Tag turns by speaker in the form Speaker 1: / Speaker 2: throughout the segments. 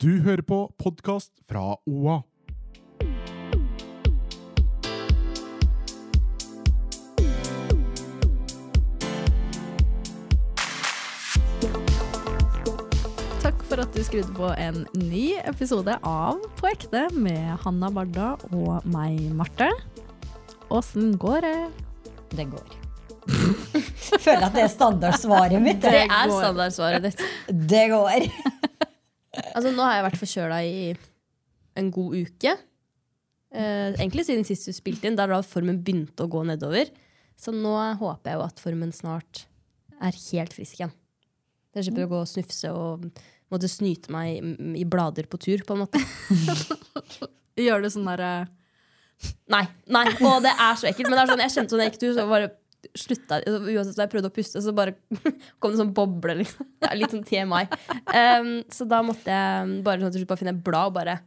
Speaker 1: Du hører på podkast fra OA.
Speaker 2: Takk for at du skrudde på en ny episode av På ekte med Hanna Barda og meg, Marte. Åssen går det?
Speaker 3: Det går. Jeg føler at det er standardsvaret mitt.
Speaker 2: Det
Speaker 4: Det
Speaker 2: går.
Speaker 4: er standardsvaret ditt.
Speaker 3: Det går.
Speaker 4: Altså, nå har jeg vært forkjøla i en god uke. Eh, egentlig siden sist du spilte inn. Da da formen begynte å gå nedover. Så nå håper jeg jo at formen snart er helt frisk igjen. Jeg slipper å gå og snufse og måtte snyte meg i- i blader på tur, på en måte.
Speaker 2: Gjør du sånn derre
Speaker 4: Nei, nei, og det er så ekkelt. Men det er sånn, jeg kjente sånn jeg gikk tur, så bare slutta Uansett hva jeg prøvde å puste, så bare kom det sånn boble, liksom. Det er litt sånn TMI. Um, så da måtte jeg bare sånn til slutt bare finne et blad og bare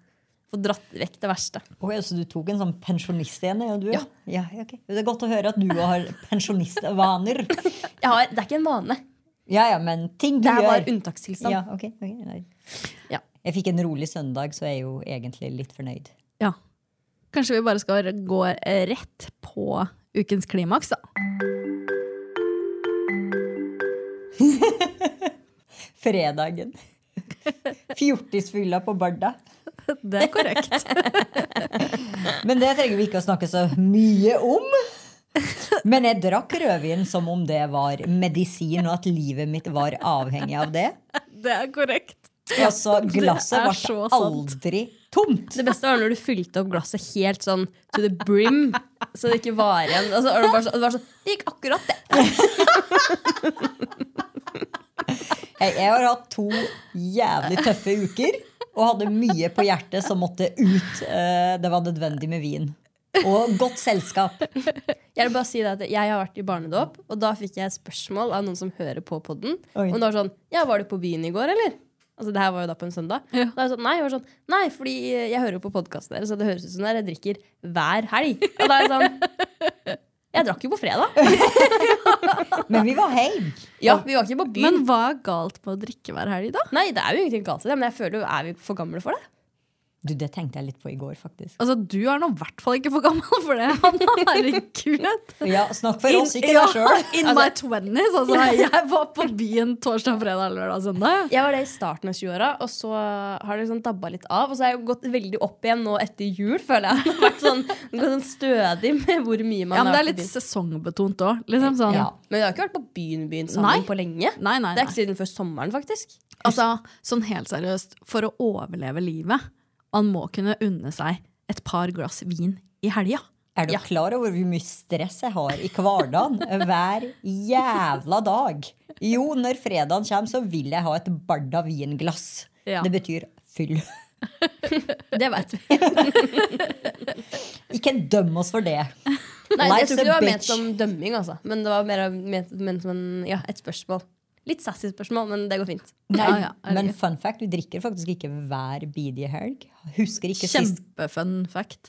Speaker 4: få dratt vekk det verste.
Speaker 3: Oi, så du tok en sånn pensjonist igjen? Ja, du?
Speaker 4: Ja.
Speaker 3: Ja, ok. Det er godt å høre at du har pensjonistvaner.
Speaker 4: Jeg har, det er ikke en vane.
Speaker 3: Ja, ja, men ting du
Speaker 4: Det er
Speaker 3: gjør.
Speaker 4: bare unntakstilstand.
Speaker 3: Ja, ok, ok, nei.
Speaker 4: Ja.
Speaker 3: Jeg fikk en rolig søndag, så jeg er jo egentlig litt fornøyd.
Speaker 2: Ja. Kanskje vi bare skal gå eh, rett på ukens klimaks, da.
Speaker 3: Fredagen. Fjortisfylla på Barda.
Speaker 2: Det er korrekt.
Speaker 3: Men det trenger vi ikke å snakke så mye om. Men jeg drakk rødvin som om det var medisin, og at livet mitt var avhengig av det.
Speaker 2: Det er korrekt.
Speaker 3: Og så
Speaker 2: Det
Speaker 3: glasset
Speaker 2: er
Speaker 3: var
Speaker 2: så sant.
Speaker 3: aldri tomt.
Speaker 4: Det beste var når du fylte opp glasset helt sånn to the brim, så det ikke var igjen. Altså, og det, var sånn, det var sånn Det gikk akkurat, det.
Speaker 3: Jeg, jeg har hatt to jævlig tøffe uker og hadde mye på hjertet som måtte ut. Eh, Det var nødvendig med vin. Og godt selskap.
Speaker 4: Jeg vil bare si det at jeg har vært i barnedåp, og da fikk jeg et spørsmål av noen som hører på podden.
Speaker 3: Oi.
Speaker 4: Og det var sånn Ja, var du på byen i går, eller? Altså, det her var jo da på en søndag.
Speaker 2: Ja.
Speaker 4: Da var jeg sånn, nei, jeg var sånn, nei, fordi jeg hører jo på podkasten deres, så det høres ut som dere drikker hver helg. Og da er jeg sånn Jeg drakk jo på fredag.
Speaker 3: Men vi var heim.
Speaker 4: Ja, vi var ikke på byen.
Speaker 2: Men hva er galt med å drikke hver helg, da?
Speaker 4: nei, det er jo ingenting galt i det, men jeg føler jo er vi for gamle for det?
Speaker 3: Du, det tenkte jeg litt på i går, faktisk.
Speaker 2: Altså, Du er nå i hvert fall ikke for gammel for det, Hanna. Herregud.
Speaker 3: Ja, snakk for oss, ikke
Speaker 2: ja,
Speaker 3: deg sjøl.
Speaker 2: In my twenties. Altså, jeg var på byen torsdag, fredag, lørdag, søndag.
Speaker 4: Jeg var det i starten av 20-åra, og så har det liksom dabba litt av. Og så har jeg jo gått veldig opp igjen nå etter jul, føler jeg. Det har vært sånn, gått sånn stødig med hvor mye man
Speaker 2: Ja, men
Speaker 4: har
Speaker 2: det
Speaker 4: vært
Speaker 2: er
Speaker 4: på
Speaker 2: litt
Speaker 4: byen.
Speaker 2: sesongbetont òg. Liksom sånn.
Speaker 3: Ja.
Speaker 4: Men vi har ikke vært på byen, byen sammen
Speaker 2: Nei.
Speaker 4: på lenge.
Speaker 2: Nei, nei,
Speaker 4: Det er
Speaker 2: nei.
Speaker 4: ikke siden før sommeren, faktisk.
Speaker 2: Altså, sånn helt seriøst, for å overleve livet, man må kunne unne seg et par glass vin i helga.
Speaker 3: Er du klar over hvor mye stress jeg har i hverdagen? Hver jævla dag. Jo, når fredagen kommer, så vil jeg ha et barda vinglass.
Speaker 2: Ja.
Speaker 3: Det betyr fyll.
Speaker 4: Det vet vi.
Speaker 3: Ikke døm oss for det.
Speaker 4: Nei, jeg
Speaker 3: Life's
Speaker 4: tror ikke det
Speaker 3: a
Speaker 4: var
Speaker 3: bitch.
Speaker 4: ment som dømming, altså. Men det var mer ment, ment som en, ja, et spørsmål. Litt sassy spørsmål, men det går fint.
Speaker 2: Ja, ja, herregud.
Speaker 3: Men fun fact, du drikker faktisk ikke hver bidige helg. Husker ikke sist.
Speaker 2: Kjempefun fact.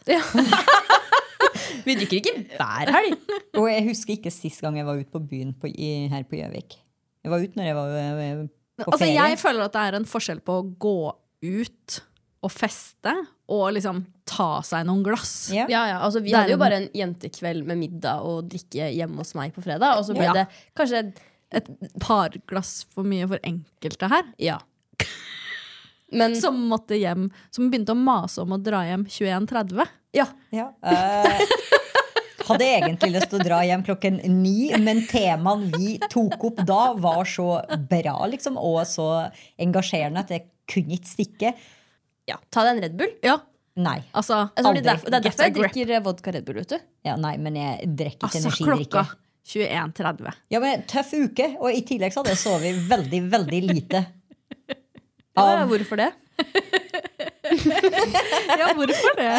Speaker 4: Vi drikker ikke hver helg.
Speaker 3: Og jeg husker ikke sist gang jeg var ute på byen på, i, her på Gjøvik. Jeg var ute når jeg var eh, på
Speaker 2: Altså,
Speaker 3: ferie.
Speaker 2: jeg føler at det er en forskjell på å gå ut og feste og liksom ta seg noen glass.
Speaker 3: Ja.
Speaker 4: Ja, ja, altså Vi
Speaker 2: Det er
Speaker 4: hadde jo
Speaker 2: en-
Speaker 4: bare en jentekveld med middag og drikke hjemme hos meg på fredag. Og så ble
Speaker 2: Ja.
Speaker 4: det kanskje
Speaker 2: Et par glass for mye for enkelte her.
Speaker 4: Ja. Men
Speaker 2: Som måtte hjem, som begynte å mase om å dra hjem 21.30.
Speaker 4: ja,
Speaker 3: Ja, eh, hadde egentlig lyst til å dra hjem klokken ni, men temaen vi tok opp da, var så bra liksom, og så engasjerende at jeg kunne ikke stikke.
Speaker 4: ja. Ta deg en Red Bull.
Speaker 2: Ja,
Speaker 3: Nei.
Speaker 2: altså,
Speaker 4: Altså, det,
Speaker 3: Aldri.
Speaker 4: er derfor, det er
Speaker 2: Get
Speaker 4: derfor
Speaker 2: a
Speaker 4: jeg
Speaker 2: grip.
Speaker 4: drikker vodka Red Bull. vet du
Speaker 3: Ja, nei, men jeg drikker ikke
Speaker 2: altså klokka
Speaker 3: energidrikke.
Speaker 2: 21.30.
Speaker 3: Ja, men Tøff uke, og i tillegg så hadde jeg sovet veldig, veldig lite. Av
Speaker 4: Hvorfor det?
Speaker 2: Ja, hvorfor det?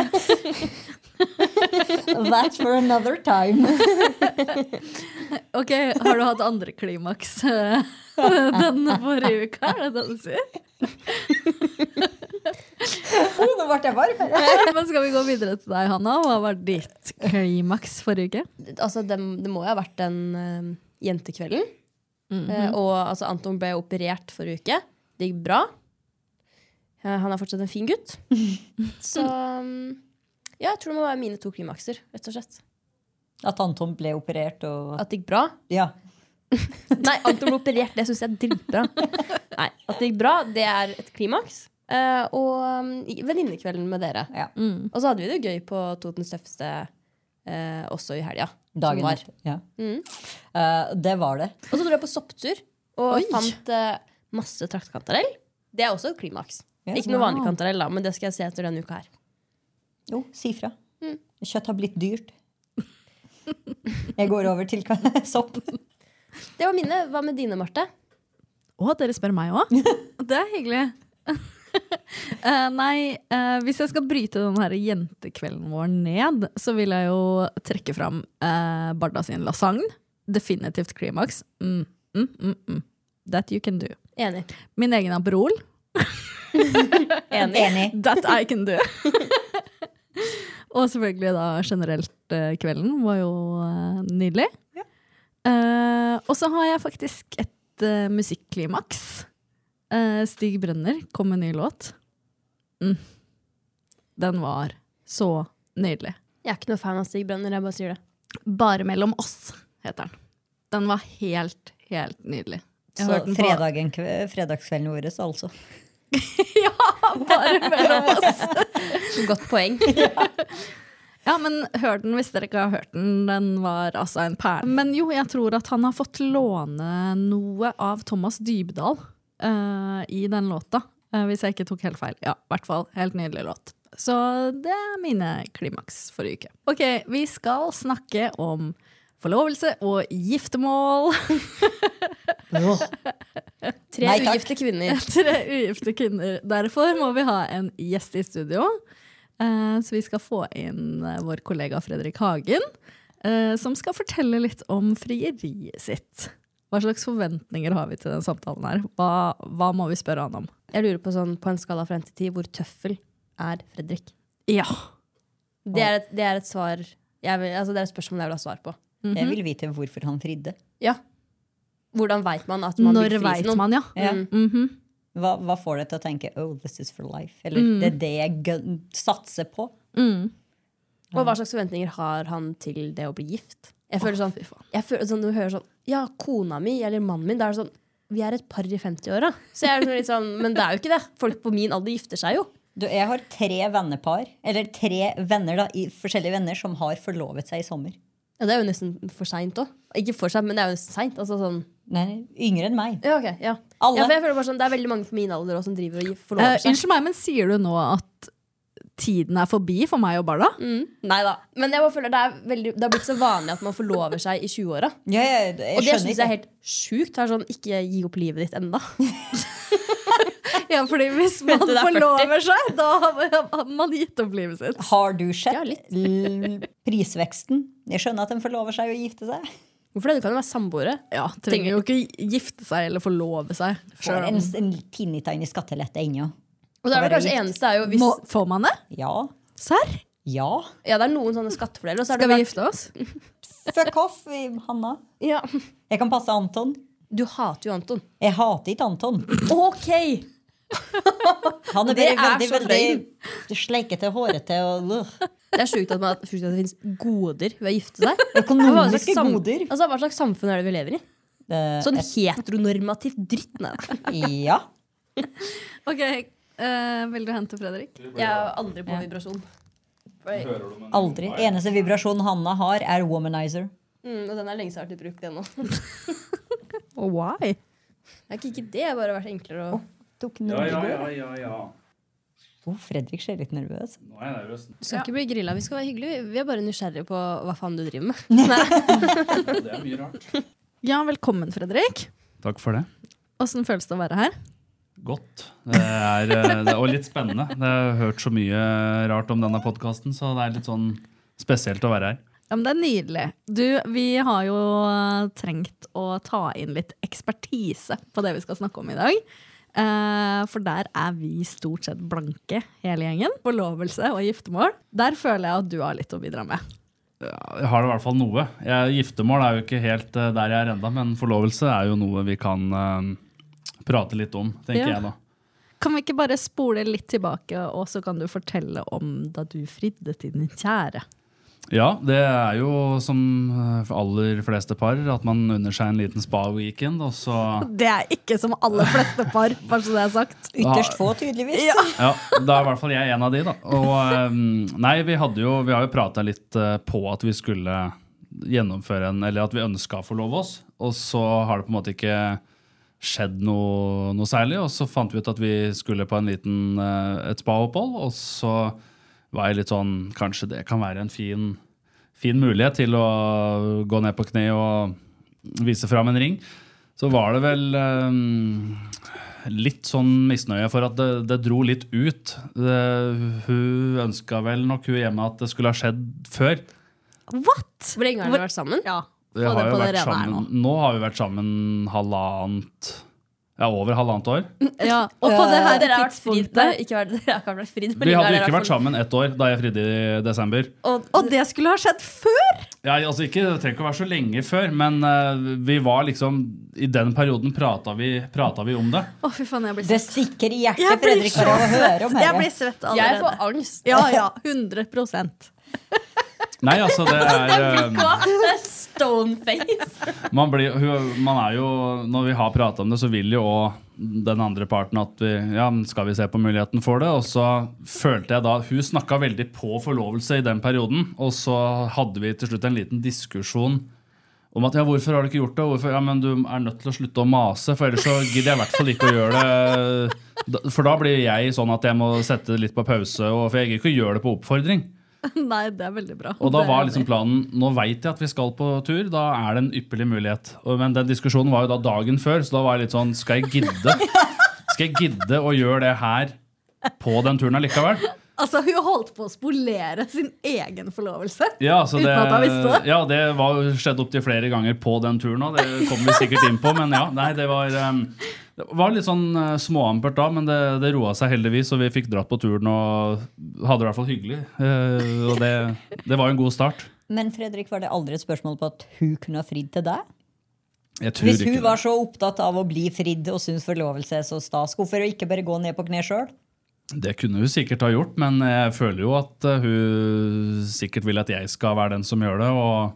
Speaker 3: That's for another time.
Speaker 2: Ok, Har du hatt andre klimaks eh, den forrige uka? Er det det du sier?
Speaker 3: Oi, Oh, nå ble jeg varm.
Speaker 2: Men skal vi gå videre til deg, Hanna? Hva var ditt klimaks forrige uke?
Speaker 4: Altså, det, det må jo ha vært den eh, jentekvelden. Eh, og altså, Anton ble operert forrige uke. Det gikk bra. Eh, han er fortsatt en fin gutt. Så mm, ja, jeg tror det må være mine to klimakser. rett og slett.
Speaker 3: At Anton ble operert og
Speaker 4: At det gikk bra.
Speaker 3: Ja.
Speaker 4: Nei, Anton ble operert. Det syns jeg er dritbra. Nei, At det gikk bra, det er et klimaks. Eh, og mm, i- venninnekvelden med dere.
Speaker 3: ja.
Speaker 4: Og så hadde vi det gøy på Totens tøffeste eh, også i helga. som
Speaker 3: Dagen
Speaker 4: var.
Speaker 3: etter.
Speaker 4: Mm.
Speaker 3: Ja. Eh, det var det.
Speaker 4: Og så dro jeg på sopptur og
Speaker 2: Oi.
Speaker 4: fant eh, masse traktkantarell. Det er også et klimaks.
Speaker 3: Ja,
Speaker 4: Ikke noe vanlig kantarell, da, men det skal jeg se etter denne uka her.
Speaker 3: Jo, si fra.
Speaker 4: Mm.
Speaker 3: Kjøtt har blitt dyrt. Jeg går over til sopp.
Speaker 4: Det var mine. Hva med dine, Marte?
Speaker 2: Å, dere spør meg òg? Det er hyggelig. Eh, nei, eh, hvis jeg skal bryte den her jentekvelden vår ned, så vil jeg jo trekke fram eh, Barda sin lasagne. Definitivt klimaks. Mm, mm, mm, mm. That you can do.
Speaker 4: Enig.
Speaker 2: Min egen Aperol.
Speaker 4: Enig.
Speaker 3: Enig.
Speaker 2: That I can do. Og selvfølgelig da generelt eh, kvelden var jo eh, nydelig. Eh, og så har jeg faktisk et eh, musikklimaks. Eh, Stig Brenner kom med en ny låt. Mm. Den var så nydelig.
Speaker 4: Jeg er ikke noe fan av Stig Brenner. jeg bare sier det.
Speaker 2: Bare mellom oss, heter den. Den var helt, helt nydelig. Jeg
Speaker 3: Så
Speaker 2: hørte den på-
Speaker 3: fredagen, kve- fredagskvelden vår, altså.
Speaker 2: Bare mellom oss.
Speaker 4: Godt poeng.
Speaker 2: Ja, men hør den hvis dere ikke har hørt den. Den var altså en perle. Men jo, jeg tror at han har fått låne noe av Thomas Dybdahl eh, i den låta. eh, hvis jeg ikke tok helt feil. Ja, i hvert fall. Helt nydelig låt. Så det er mine klimaks forrige uke. Ok, vi skal snakke om forlovelse og giftermål.
Speaker 4: Tre
Speaker 3: Nei, takk.
Speaker 4: ugifte kvinner.
Speaker 2: Tre ugifte kvinner. Derfor må vi ha en gjest i studio. Eh, Så vi skal få inn eh, vår kollega Fredrik Hagen, eh, som skal fortelle litt om frieriet sitt. Hva slags forventninger har vi til den samtalen her? Hva, hva må vi spørre han om?
Speaker 4: Jeg lurer på sånn, på en skala fra 1 til 10, hvor tøffel er Fredrik?
Speaker 2: Ja.
Speaker 4: Det er et, det er et svar jeg vil, altså Det er et spørsmål jeg vil ha svar på.
Speaker 2: Mm-hmm.
Speaker 3: Jeg vil vite hvorfor han fridde.
Speaker 4: Ja. Hvordan veit man at man
Speaker 2: Når
Speaker 4: vil fri
Speaker 2: veit
Speaker 4: til noen?
Speaker 2: man, ja.
Speaker 3: Ja.
Speaker 4: Mm.
Speaker 2: Mhm.
Speaker 3: Hva, hva får deg til å tenke 'oh, this is for life'? Eller
Speaker 2: Mm.
Speaker 3: 'det er det jeg gønn- satser på'?
Speaker 4: Og hva slags forventninger har han til det å bli gift? Jeg føler sånn, jeg føler, sånn Du hører sånn Ja, kona mi eller mannen min. Da er det sånn Vi er et par i 50-åra. Så jeg er sånn litt sånn Men det er jo ikke det. Folk på min alder gifter seg jo.
Speaker 3: Du, jeg har tre vennepar, eller tre venner da, i, forskjellige venner som har forlovet seg i sommer.
Speaker 4: Ja, det er jo nesten for seint òg. Ikke for seint, men det er jo nesten seint. Altså sånn
Speaker 3: Nei, yngre enn meg.
Speaker 4: Ja, ok. Ja.
Speaker 3: Alle.
Speaker 4: Ja, for jeg føler bare sånn Det er veldig mange på min alder også som driver og gif-
Speaker 2: Eh,
Speaker 4: forlover seg.
Speaker 2: Unnskyld meg, men sier du nå at tiden er forbi for meg og Barda?
Speaker 4: Mm. Nei da. Men jeg bare føler det, er veldig, det har blitt så vanlig at man forlover seg i 20-åra.
Speaker 3: Ja, jeg, jeg
Speaker 4: Og det
Speaker 3: skjønner
Speaker 4: syns jeg er helt sjukt. Det er Sånn, ikke gi opp livet ditt ennå.
Speaker 2: Ja, fordi hvis man
Speaker 4: du, det er 40.
Speaker 2: forlover seg, da har man gitt opp livet sitt.
Speaker 3: Har du sett
Speaker 4: Ja, litt.
Speaker 3: l- prisveksten? Jeg skjønner at de forlover seg og gifter seg.
Speaker 4: Hvorfor det? Du kan jo være samboere.
Speaker 2: Ja, trenger jo ikke gifte seg eller forlove seg.
Speaker 3: Får
Speaker 2: Selv om-
Speaker 3: en, en tiny tiny skattelette ennå.
Speaker 4: Og
Speaker 3: Å
Speaker 4: det er det
Speaker 3: være
Speaker 4: kanskje
Speaker 3: gift.
Speaker 4: eneste er jo hvis
Speaker 2: Må, får man det?
Speaker 3: Ja.
Speaker 2: Serr?
Speaker 3: Ja.
Speaker 4: Ja, det er noen sånne skattefordeler. og så er
Speaker 2: Skal vi
Speaker 4: det bare-
Speaker 2: gifte oss?
Speaker 3: Fuck off, Hanna.
Speaker 4: Ja.
Speaker 3: Jeg kan passe Anton.
Speaker 4: Du hater jo Anton.
Speaker 3: Jeg hater ikke Anton.
Speaker 4: Ok!
Speaker 3: Han er
Speaker 4: Det
Speaker 3: bare
Speaker 4: er
Speaker 3: veldig,
Speaker 4: så
Speaker 3: veldig sleikete, hårete og øh.
Speaker 4: Det er sjukt at, man- sjukt at det finnes goder ved å gifte seg. Hva slags,
Speaker 3: Økonomiske
Speaker 4: sam
Speaker 3: goder.
Speaker 4: altså, hva slags samfunn er det vi lever i?
Speaker 3: Eh,
Speaker 4: Sånn heteronormativt dritt. Nei.
Speaker 3: ja.
Speaker 2: Ok, eh, Vil du hente Fredrik?
Speaker 4: Jeg er aldri på vibrasjon.
Speaker 3: Aldri. Eneste vibrasjon Hanna har, er womanizer.
Speaker 4: Mm, og den er lenge siden vært i bruk, den òg.
Speaker 2: Og why?
Speaker 4: Det er ikke- ikke det, jeg har bare vært enklere å
Speaker 3: Tok den
Speaker 5: Ja,
Speaker 3: ut i
Speaker 5: ja,
Speaker 3: går.
Speaker 5: ja, ja, ja.
Speaker 3: Oh, Fredrik ser litt nervøs.
Speaker 5: Nå er jeg nervøs.
Speaker 4: Du skal ikke bli grilla, vi skal være hyggelige. Vi- Vi er bare nysgjerrige på hva faen du driver med.
Speaker 5: Det er mye rart.
Speaker 2: Ja, velkommen, Fredrik.
Speaker 5: Takk for det.
Speaker 2: Åssen føles det å være her?
Speaker 6: Godt. Det er, eh, det er, og litt spennende. Jeg har hørt så mye rart om denne podkasten, så det er litt sånn spesielt å være her.
Speaker 2: Ja, men Det er nydelig. Du, vi har jo eh, trengt å ta inn litt ekspertise på det vi skal snakke om i dag. Eh, for der er vi stort sett blanke, hele gjengen. Forlovelse og giftermål. Der føler jeg at du har litt å bidra med.
Speaker 6: Jeg har i hvert fall noe. Jeg, giftermål er jo ikke helt eh, der jeg er enda, men forlovelse er jo noe vi kan eh, prate litt om, tenker
Speaker 2: Ja.
Speaker 6: jeg da.
Speaker 2: Kan vi ikke bare spole litt tilbake, og så kan du fortelle om da du fridde til din kjære?
Speaker 6: Ja, det er jo som eh, for aller fleste par at man unner seg en liten spa-weekend, og så
Speaker 2: Det er ikke som aller fleste par, bare så det er sagt.
Speaker 6: Ytterst
Speaker 3: få, tydeligvis.
Speaker 6: Ja, da er i hvert fall jeg en av de, da. Og eh, nei, vi, hadde jo, vi har jo prata litt eh, på at vi skulle gjennomføre en Eller at vi ønska å forlove oss, og så har det på en måte ikke skjedd noe, noe særlig. Og så fant vi ut at vi skulle på en liten, eh, et spaopphold, og så var jeg litt sånn Kanskje det kan være en fin, fin mulighet til å gå ned på kne og vise fram en ring. Så var det vel eh, litt sånn misnøye for at det, det dro litt ut. Det, hun ønska vel nok hun hjemme at det skulle ha skjedd før.
Speaker 2: What?!
Speaker 4: Hvor lenge har dere vært sammen?
Speaker 2: Ja.
Speaker 6: Vi har jo vært sammen, nå. har vi vært sammen halvannet Ja, over halvannet år.
Speaker 2: og på det her
Speaker 4: Dere har vært frid,
Speaker 2: tidspunktet-
Speaker 4: nei, ikke vært, dere har ikke vært frid.
Speaker 6: Vi hadde ikke vært sammen ett år da jeg fridde i desember.
Speaker 4: Og,
Speaker 2: og det skulle ha skjedd før!
Speaker 6: Ja, altså ikke, Det trenger ikke å være så lenge før, men eh, vi var liksom I den perioden prata vi, prata vi om det.
Speaker 2: Å, fy faen, jeg blir
Speaker 3: Det stikker i hjertet,
Speaker 2: Jeg blir
Speaker 3: Fredrik,
Speaker 2: så
Speaker 3: bare av å høre om
Speaker 2: svett. Jeg
Speaker 3: dette.
Speaker 2: blir svett allerede.
Speaker 4: Jeg får angst.
Speaker 2: Ja, ja. 100
Speaker 6: Nei, altså, det er eh,
Speaker 4: Hva? Stoneface.
Speaker 6: man, blir, hun- man er jo Når vi har prata om det, så vil jo òg den andre parten at vi Ja, men skal vi se på muligheten for det? Og så følte jeg da Hun snakka veldig på forlovelse i den perioden, og så hadde vi til slutt en liten diskusjon om at ja, hvorfor har du ikke gjort det? Hvorfor, ja, men Du er nødt til å slutte å mase, for ellers så gidder jeg i hvert fall ikke å gjøre det. Da- For da blir jeg sånn at jeg må sette det litt på pause, og, for jeg gidder ikke å gjøre det på oppfordring.
Speaker 2: Nei, det er veldig bra.
Speaker 6: Og da
Speaker 2: Det er
Speaker 6: var
Speaker 2: jeg
Speaker 6: liksom
Speaker 2: enig i.
Speaker 6: planen Nå veit jeg at vi skal på tur, da er det en ypperlig mulighet. Og- Men den diskusjonen var jo da dagen før, så da var jeg litt sånn Skal jeg gidde Skal jeg gidde å gjøre det her på den turen allikevel?
Speaker 2: Altså, Hun holdt på å spolere sin egen forlovelse.
Speaker 6: Ja, så
Speaker 2: Uten at jeg visste
Speaker 6: det,
Speaker 2: det.
Speaker 6: ja, det var jo skjedd opptil flere ganger på den turen òg. Det kommer vi sikkert inn på, men ja. Nei, det var, um, det var litt sånn eh, småampert da, men det, det roa seg heldigvis, og vi fikk dratt på turen og hadde det i hvert fall hyggelig. Eh, Og det, det var jo en god start.
Speaker 3: Men Fredrik, var det aldri et spørsmål på at hun kunne ha fridd til deg?
Speaker 6: Jeg tror
Speaker 3: Hvis
Speaker 6: ikke
Speaker 3: hun
Speaker 6: det.
Speaker 3: var så opptatt av å bli fridd og syns forlovelse er så stas, hvorfor ikke bare gå ned på kne sjøl?
Speaker 6: Det kunne hun sikkert ha gjort, men jeg føler jo at eh, hun sikkert vil at jeg skal være den som gjør det, og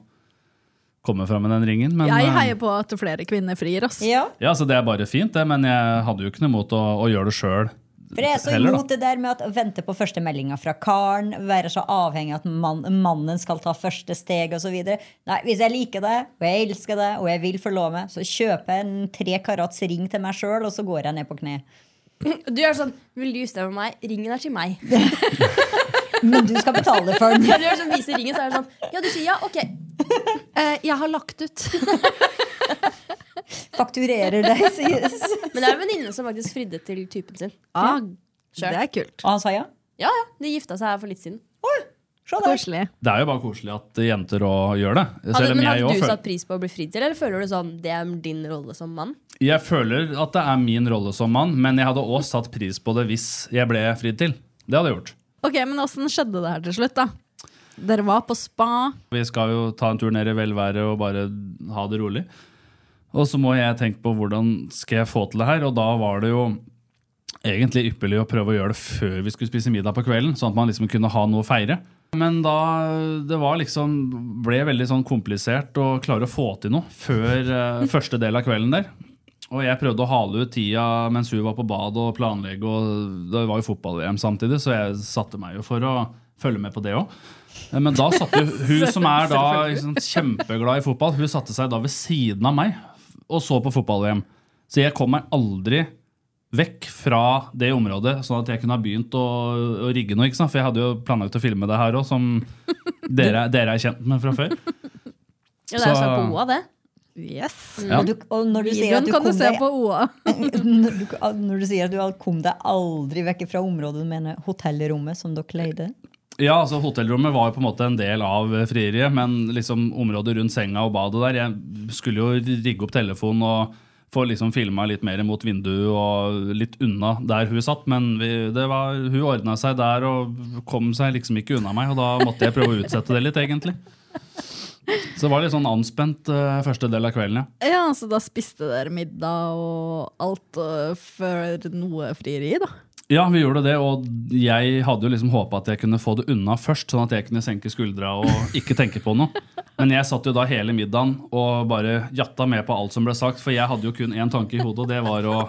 Speaker 6: komme fram med den ringen. Men,
Speaker 2: jeg
Speaker 6: eh,
Speaker 2: heier på at flere kvinner frir, ass.
Speaker 6: ja, så det er bare fint, det, men jeg hadde jo ikke noe imot å, å gjøre det sjøl.
Speaker 3: For jeg er så
Speaker 6: Heller, da.
Speaker 3: imot det der med at vente på første meldinga fra karen, være så avhengig av at mann, mannen skal ta første steg osv. Nei, hvis jeg liker deg, og jeg elsker deg, og jeg vil forlove meg, så kjøper jeg en tre karats ring til meg sjøl, og så går jeg ned på kne.
Speaker 4: Du gjør sånn Vil du gifte deg med meg? Ringen er til meg.
Speaker 3: Men du skal betale for den.
Speaker 4: Ja, du gjør sånn, viser ringen, så er det sånn Ja, du sier ja, ok. Eh, jeg har lagt ut.
Speaker 3: Fakturerer deg, sies.
Speaker 4: Men det er en venninne som faktisk fridde til typen sin.
Speaker 2: Ah,
Speaker 4: Selv.
Speaker 2: Det er kult.
Speaker 3: Og han sa ja?
Speaker 4: Ja, ja. De gifta seg her for litt siden.
Speaker 2: Koselig.
Speaker 6: Det er jo bare koselig at jenter òg gjør det.
Speaker 4: Hadde,
Speaker 6: Selv om
Speaker 4: men
Speaker 6: jeg
Speaker 4: hadde
Speaker 6: òg
Speaker 4: du
Speaker 6: føler,
Speaker 4: satt pris på å bli fridd til, eller føler du sånn det er din rolle som mann?
Speaker 6: jeg føler at det er min rolle som mann, men jeg hadde òg satt pris på det hvis jeg ble fridd til. Det hadde jeg gjort.
Speaker 2: Ok, Men åssen skjedde det her til slutt, da? Dere var på spa.
Speaker 6: Vi skal jo ta en tur ned i velvære og bare ha det rolig. Og så må jeg tenke på hvordan skal jeg få til det her, og da var det jo egentlig ypperlig å prøve å gjøre det før vi skulle spise middag på kvelden, sånn at man liksom kunne ha noe å feire. Men da det var liksom ble veldig sånn komplisert å klare å få til noe før eh, første del av kvelden der. Og jeg prøvde å hale ut tida mens hun var på badet og planlegge, og det var jo fotball-VM samtidig, så jeg satte meg jo for å følge med på det òg. Men da satte hun, hun som er da liksom, kjempeglad i fotball, hun satte seg da ved siden av meg og så på fotball-VM. Så jeg kom meg aldri vekk fra det området, sånn at jeg kunne ha begynt å, å rigge noe. ikke sant? For jeg hadde jo planlagt å filme det her òg, som dere, dere er kjent med fra før.
Speaker 4: Ja, det er jo
Speaker 6: Så-
Speaker 4: sånn på OA, det.
Speaker 2: Yes.
Speaker 6: Ja.
Speaker 3: Og, du, og når du sier at
Speaker 2: Videoen
Speaker 3: du
Speaker 2: kan du
Speaker 3: kom
Speaker 2: se
Speaker 3: deg-
Speaker 2: på OA.
Speaker 3: når, du, når du sier at du al- kom deg aldri vekk fra området, du mener hotellrommet som dere leide?
Speaker 6: Ja, altså Hotellrommet var jo på en måte en del av eh, frieriet, men liksom området rundt senga og badet der Jeg skulle jo rigge opp telefonen og få liksom filma litt mer mot vinduet og litt unna der hun satt, men vi, det var, hun ordna seg der og kom seg liksom ikke unna meg, og da måtte jeg prøve å utsette det litt, egentlig. Så det var litt sånn anspent eh, første del av kvelden, ja.
Speaker 2: Ja, så da spiste dere middag og alt øh, før noe frieri, da.
Speaker 6: Ja, vi gjorde det, og jeg hadde jo liksom håpa at jeg kunne få det unna først, sånn at jeg kunne senke skuldra og ikke tenke på noe. Men jeg satt jo da hele middagen og bare jatta med på alt som ble sagt, for jeg hadde jo kun én tanke i hodet, og det var å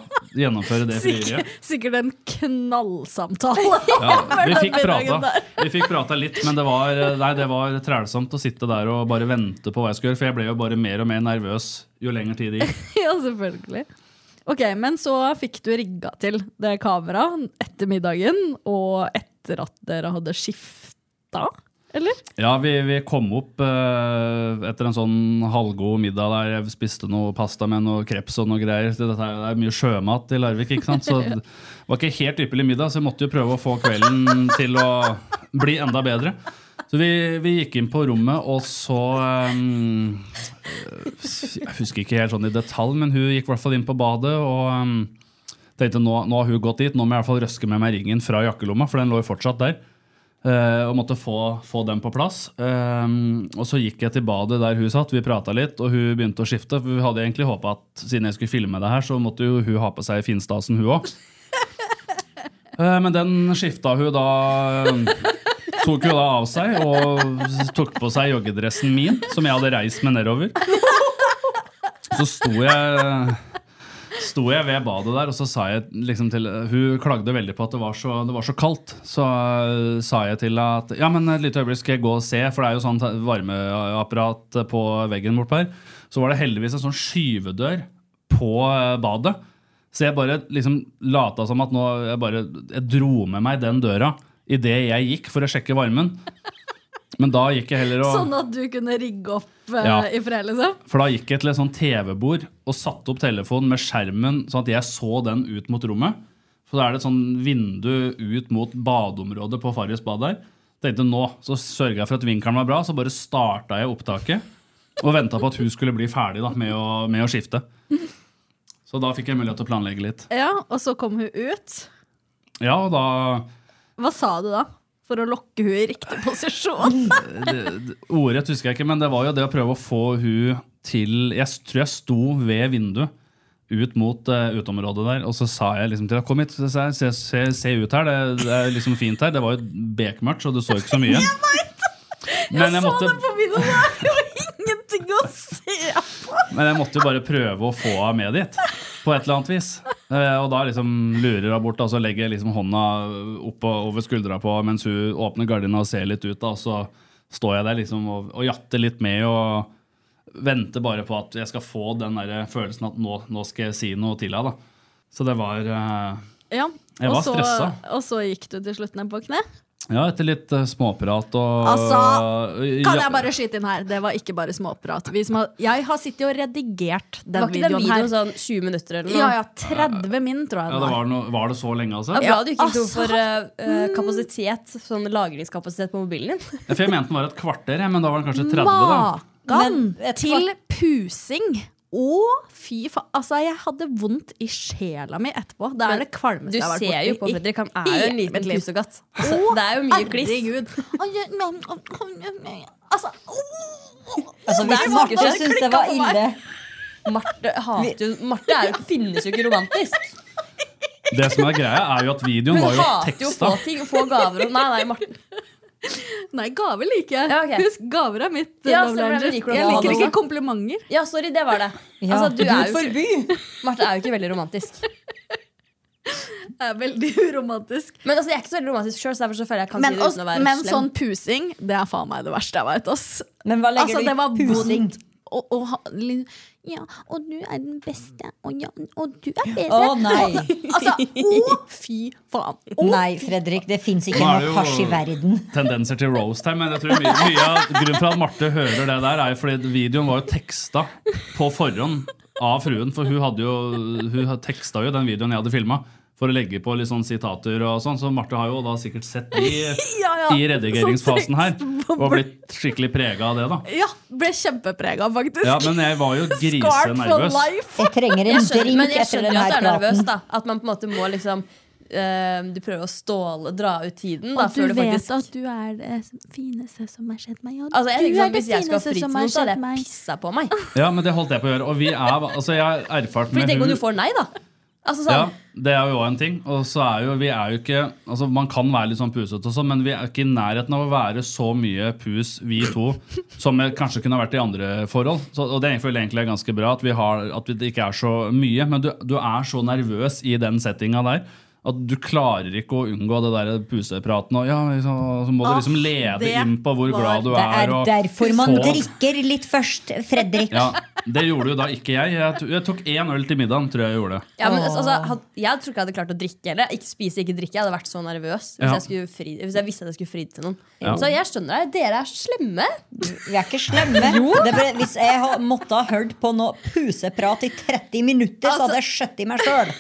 Speaker 6: gjennomføre det
Speaker 2: Sikkert,
Speaker 6: frieriet.
Speaker 2: sikkert en knallsamtale.
Speaker 6: Ja, vi
Speaker 2: den
Speaker 6: fikk
Speaker 2: middagen
Speaker 6: prata.
Speaker 2: der.
Speaker 6: Vi fikk prata litt, men det var, nei, det var trælsomt å sitte der og bare vente på hva jeg skulle gjøre, for jeg ble jo bare mer og mer nervøs jo lenger tid det gikk.
Speaker 2: Ja, selvfølgelig. Ok, men så fikk du rigga til det kameraet etter middagen, og etter at dere hadde skifta, eller?
Speaker 6: Ja, vi, vi kom opp eh, etter en sånn halvgod middag der jeg spiste noe pasta med noe kreps og noe greier. Så Dette er, det er mye sjømat i Larvik, ikke sant? Så det var ikke helt ypperlig middag, så jeg måtte jo prøve å få kvelden til å bli enda bedre. Så vi, vi gikk inn på rommet, og så eh, Jeg husker ikke helt sånn i detalj, men hun gikk i hvert fall inn på badet og eh, tenkte nå, nå har hun gått dit, nå må jeg i hvert fall røske med meg ringen fra jakkelomma, for den lå jo fortsatt der. Eh, og måtte få, få den på plass. Eh, og så gikk jeg til badet der hun satt, vi prata litt, og hun begynte å skifte. For vi hadde egentlig håpa at siden jeg skulle filme det her, så måtte jo hun ha på seg finstasen, hun òg. men den skifta hun da eh, Tok hun da av seg og tok på seg joggedressen min, som jeg hadde reist med nedover. Så sto jeg sto jeg ved badet der, og så sa jeg liksom til Hun klagde veldig på at det var så, det var så kaldt. Så øh, sa jeg til henne at ja, men et lite øyeblikk skal jeg gå og se, for det er jo sånn te- varmeapparat på veggen bortpå her. Så var det heldigvis en sånn skyvedør på øh, badet. Så jeg bare liksom lata som at nå jeg bare jeg dro med meg den døra idet jeg gikk for å sjekke varmen. Men da gikk jeg heller og
Speaker 2: Sånn at du kunne rigge opp eh,
Speaker 6: Ja.
Speaker 2: i fred, liksom?
Speaker 6: for da gikk jeg til et sånt TV-bord og satte opp telefonen med skjermen sånn at jeg så den ut mot rommet. For da er det et sånn vindu ut mot badeområdet på Farris bad der. Tenkte nå, Så sørga jeg for at vinkelen var bra, så bare starta jeg opptaket. Og venta på at hun skulle bli ferdig da, med, å, med å skifte. Så da fikk jeg mulighet til å planlegge litt.
Speaker 2: Ja, og så kom hun ut.
Speaker 6: Ja, og da
Speaker 2: Hva sa du da? For å lokke hun i riktig posisjon?
Speaker 6: det, det- Ordrett husker jeg ikke, men det var jo det å prøve å få hun til Jeg s- tror jeg sto ved vinduet ut mot eh, uteområdet der, og så sa jeg liksom til henne Kom hit, se, se, se, se ut her. Det, det er liksom fint her. Det var jo bekmørkt, så du så ikke så mye. Men jeg,
Speaker 2: så
Speaker 6: måtte,
Speaker 2: det på videoen! Det er jo ingenting å se på!
Speaker 6: men jeg måtte jo bare prøve å få henne med dit, på et eller annet vis. Eh, Og da liksom lurer hun bort, da, og så legger jeg liksom hånda opp og over skuldra på mens hun åpner gardina og ser litt ut, da, og så står jeg der liksom og, og jatter litt med og venter bare på at jeg skal få den der følelsen at nå, nå skal jeg si noe til henne. da. Så det var eh,
Speaker 2: Ja,
Speaker 6: Jeg
Speaker 2: og
Speaker 6: var
Speaker 2: så,
Speaker 6: stressa.
Speaker 2: og så gikk du til slutt ned på kne?
Speaker 6: Ja, etter litt eh, småprat og
Speaker 2: Altså, Kan
Speaker 6: Ja.
Speaker 2: jeg bare skyte inn her? Det var ikke bare småprat. Vi som har, jeg har sittet og redigert den
Speaker 4: Var ikke den
Speaker 2: videoen her.
Speaker 4: videoen sånn 20 minutter eller noe?
Speaker 2: Ja, ja, 30 min, tror jeg
Speaker 6: Ja, det var, noe, var det så lenge, altså?
Speaker 4: Det er bra du ikke gikk
Speaker 2: altså.
Speaker 4: tom for eh, eh, kapasitet, sånn lagringskapasitet på mobilen din.
Speaker 6: Ja, For jeg mente den var et kvarter, jeg, men da var den kanskje 30. da.
Speaker 2: Makan til pusing! Å, fy faen. Altså, jeg hadde vondt i sjela mi etterpå. Det
Speaker 4: Men
Speaker 2: er det kvalmeste jeg har vært
Speaker 4: Du ser jo på Fredrik, han er jo en liten pusegatt. Så
Speaker 2: Å,
Speaker 4: det er jo mye kliss.
Speaker 2: Herregud. Altså,
Speaker 3: Altså, hvis Marte syns det var ille
Speaker 4: Marte, hater jo, Marte er jo, finnes jo ikke romantisk.
Speaker 6: Det som er greia, er jo at videoen
Speaker 4: Hun
Speaker 6: var jo
Speaker 4: hater jo å
Speaker 6: teksta.
Speaker 4: få ting, få gaver og Nei, nei, Marte.
Speaker 2: Nei, gaver liker jeg.
Speaker 4: Ja, ok.
Speaker 2: Husk, gaver er mitt. eh,
Speaker 4: Ja,
Speaker 2: love
Speaker 4: så ble det
Speaker 2: language.
Speaker 4: liker du
Speaker 2: jeg
Speaker 4: det
Speaker 2: liker
Speaker 4: også.
Speaker 2: ikke komplimenter.
Speaker 4: Ja, sorry, det var det.
Speaker 3: Ja,
Speaker 4: Altså, du
Speaker 3: Gud
Speaker 4: er jo
Speaker 3: forby!
Speaker 4: ikke, Marte er jo ikke veldig romantisk.
Speaker 2: Det er veldig uromantisk.
Speaker 4: Men altså, jeg er ikke så veldig romantisk sjøl, så derfor så føler jeg jeg kan
Speaker 2: Men,
Speaker 4: si det
Speaker 2: oss,
Speaker 4: uten å være
Speaker 2: men
Speaker 4: slem.
Speaker 2: sånn pusing, det er faen meg det verste jeg veit.
Speaker 3: Men hva legger
Speaker 2: Altså,
Speaker 3: du
Speaker 2: det var
Speaker 3: i pusing?
Speaker 2: vondt og, og, ha- li- ja, og du er den beste, og, ja, og du er bedre.
Speaker 3: Å, nei.
Speaker 2: altså, å, fy faen. Å,
Speaker 3: Nei, Fredrik, det fins ikke
Speaker 6: Nå er det
Speaker 3: nok
Speaker 6: jo-
Speaker 3: hasj i verden.
Speaker 6: tendenser til roast her, men jeg tror mye, mye av grunnen for at Marte hører det der, er jo fordi videoen var jo teksta på forhånd av fruen. For hun, hadde jo, hun teksta jo den videoen jeg hadde filma, for å legge på litt sånn sitater og sånn. Så Marte har jo da sikkert sett de
Speaker 2: Ja, ja,
Speaker 6: i redigeringsfasen her,
Speaker 2: tekstbobler.
Speaker 6: og blitt skikkelig prega av det, da.
Speaker 2: Ja, ble kjempeprega, faktisk.
Speaker 6: Ja, men jeg var jo
Speaker 2: Scarred for
Speaker 6: grisenervøs.
Speaker 2: life.
Speaker 3: Jeg trenger en
Speaker 4: Jeg skjønner, men
Speaker 3: drink
Speaker 4: jeg
Speaker 3: etter
Speaker 4: skjønner
Speaker 3: den
Speaker 4: jo at
Speaker 3: her
Speaker 4: du er nervøs.
Speaker 3: praten.
Speaker 4: da At man på en måte må liksom eh, Du prøver å ståle, dra ut tiden. Da,
Speaker 2: Og du
Speaker 4: før du
Speaker 2: vet
Speaker 4: faktisk
Speaker 2: at du er det fineste som har skjedd meg. Og
Speaker 4: Altså, jeg
Speaker 2: du er
Speaker 4: tenker sånn,
Speaker 2: det
Speaker 4: Hvis jeg skulle hatt
Speaker 2: fineste som har
Speaker 4: fritidsnot, så hadde
Speaker 2: skjedd
Speaker 4: jeg
Speaker 2: meg.
Speaker 4: pissa på meg.
Speaker 6: Ja, men det holdt jeg på å gjøre. Og vi er, altså jeg har erfart
Speaker 4: For
Speaker 6: med
Speaker 4: tenk om
Speaker 6: hun
Speaker 4: du får nei, da. Altså
Speaker 6: Ja,
Speaker 4: sånn
Speaker 6: det er jo også en ting. Og så er jo, vi er jo ikke, altså Man kan være litt sånn pusete, og sånn, men vi er ikke i nærheten av å være så mye pus, vi to, som vi kanskje kunne ha vært i andre forhold. Så, og det føler jeg egentlig er ganske bra, at, vi har, at det ikke er så mye. Men du, du er så nervøs i den settinga der at du klarer ikke å unngå det der pusepraten. Og ja, liksom, så må du liksom lede
Speaker 2: det
Speaker 6: inn på hvor glad du
Speaker 3: Det
Speaker 6: er.
Speaker 3: er
Speaker 6: og
Speaker 3: derfor man
Speaker 6: få-
Speaker 3: drikker litt først, Fredrik.
Speaker 6: Ja, Det gjorde jo da ikke jeg. Jeg, to- jeg tok én øl til middagen, tror jeg jeg gjorde.
Speaker 4: ja, men, altså, altså, had, jeg tror ikke jeg hadde klart å drikke heller. Ikke spise, ikke drikke. Jeg hadde vært så nervøs hvis,
Speaker 6: Ja.
Speaker 4: jeg, skulle fri, hvis jeg visste at jeg skulle fri til noen.
Speaker 6: Ja.
Speaker 4: Så jeg skjønner deg. Dere er så slemme.
Speaker 3: Vi er ikke slemme. Det ble, hvis jeg ha- måtte ha hørt på noe puseprat i 30 minutter,
Speaker 4: Altså-
Speaker 3: så hadde jeg skjøtt i meg sjøl.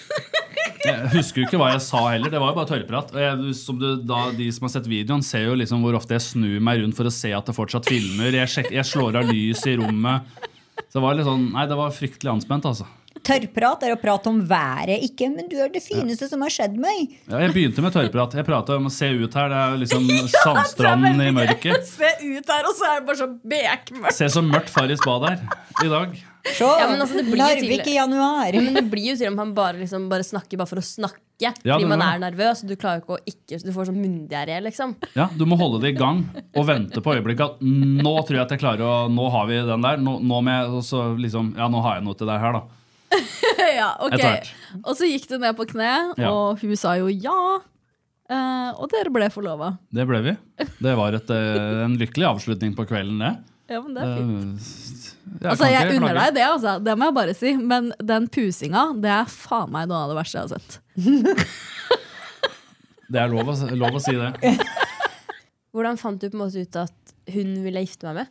Speaker 6: Jeg husker jo ikke hva jeg sa heller. Det var jo bare tørrprat. Og jeg, som du, da, de som har sett videoen, ser jo liksom hvor ofte jeg snur meg rundt for å se at det fortsatt filmer. Jeg, sjek, jeg slår av lys i rommet. Så det var litt sånn, nei, det var fryktelig anspent, altså.
Speaker 3: Tørrprat er å prate om været, ikke 'men du er det fineste som har skjedd meg'.
Speaker 6: Ja, jeg begynte med tørrprat. Jeg prata om å se ut her. Det er jo liksom sandstranden i mørket.
Speaker 2: Se ut her, og så er det bare så bekmørkt.
Speaker 6: Se så mørkt Farris bad er i dag.
Speaker 3: Se,
Speaker 4: Ja, men altså, det blir jo
Speaker 3: Narvik
Speaker 4: tydelig.
Speaker 3: i januar.
Speaker 4: Men det blir jo til om han bare, liksom, bare snakker bare for å snakke.
Speaker 6: Ja, det
Speaker 4: fordi man
Speaker 6: må-
Speaker 4: er nervøs, og du klarer ikke å ikke Du får sånn munndiaré, liksom.
Speaker 6: Ja, Du må holde det i gang og vente på øyeblikket. at Nå tror jeg at jeg klarer å Nå har vi den der. Nå, nå, må jeg- og så liksom, ja, nå har jeg noe til deg her, da.
Speaker 2: ja, ok.
Speaker 6: Etter hvert.
Speaker 2: Og så gikk du ned på kne,
Speaker 6: Ja.
Speaker 2: og hun sa jo ja. Eh, og dere ble forlova.
Speaker 6: Det ble vi. Det var et, eh, en lykkelig avslutning på kvelden, det.
Speaker 2: Ja, men det er fint.
Speaker 6: Eh, jeg
Speaker 2: altså,
Speaker 6: kan
Speaker 2: jeg
Speaker 6: ikke
Speaker 2: unner
Speaker 6: klage.
Speaker 2: deg det, altså. Det må jeg bare si. Men den pusinga, det er faen meg noe av det verste jeg har sett.
Speaker 6: Det er lov å, lov å si det.
Speaker 4: Hvordan fant du på en måte ut at hun ville gifte meg med?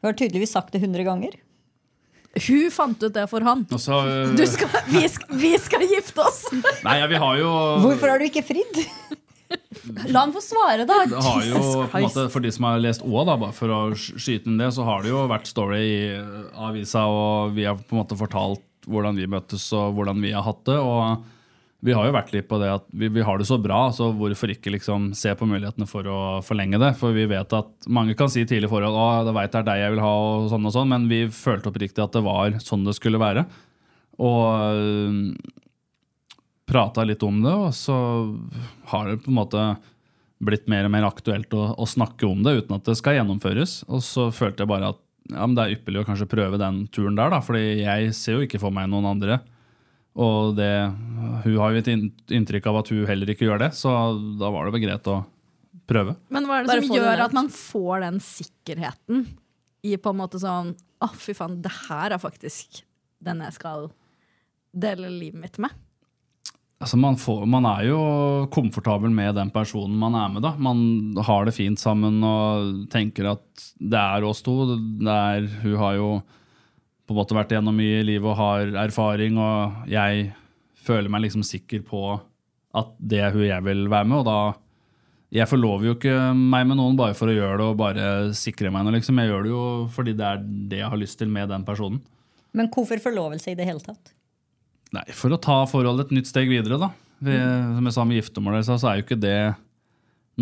Speaker 3: Du har tydeligvis sagt det 100 ganger.
Speaker 2: Hun fant ut det for han.
Speaker 6: Og så, eh,
Speaker 2: Du skal, vi, skal, vi skal gifte oss!
Speaker 6: Nei, ja, vi har jo,
Speaker 3: Hvorfor har du ikke fridd?
Speaker 4: La han få svare, da!
Speaker 6: det har jo
Speaker 4: Jesus
Speaker 6: på en måte, For de som har lest Åa, da, bare for å sk- skyte inn det, så har det jo vært story i eh, avisa, og vi har på en måte fortalt hvordan vi møttes og hvordan vi har hatt det. og vi har jo vært litt på det at vi, vi har det så bra, så hvorfor ikke liksom se på mulighetene for å forlenge det? For vi vet at mange kan si tidlig i forhold at det vet jeg er deg jeg vil ha, og sånn og sånn, men vi følte oppriktig at det var sånn det skulle være. Og øh, prata litt om det, og så har det på en måte blitt mer og mer aktuelt å, å snakke om det uten at det skal gjennomføres. Og så følte jeg bare at ja, men det er ypperlig å kanskje prøve den turen der, da, fordi jeg ser jo ikke for meg noen andre. Og det, hun har jo et inn- inntrykk av at hun heller ikke gjør det, så da var det vel greit å prøve.
Speaker 2: Men hva er det
Speaker 4: Bare
Speaker 2: som
Speaker 4: få det
Speaker 2: gjør
Speaker 4: ned.
Speaker 2: at man får den sikkerheten i på en måte sånn Å, fy faen, det her er faktisk den jeg skal dele livet mitt med.
Speaker 6: Altså man, får, man er jo komfortabel med den personen man er med. da. Man har det fint sammen og tenker at det er oss to. Det er, hun har jo på en måte vært gjennom mye i livet og har erfaring, og jeg føler meg liksom sikker på at det er hun jeg vil være med. og da, Jeg forlover jo ikke meg med noen bare for å gjøre det og bare sikre meg noe. liksom. Jeg gjør det jo fordi det er det jeg har lyst til med den personen.
Speaker 3: Men hvorfor forlovelse i det hele tatt?
Speaker 6: Nei, For å ta forholdet et nytt steg videre, da. Vi,
Speaker 3: Mm.
Speaker 6: Som jeg sa med giftermål, så er jo ikke det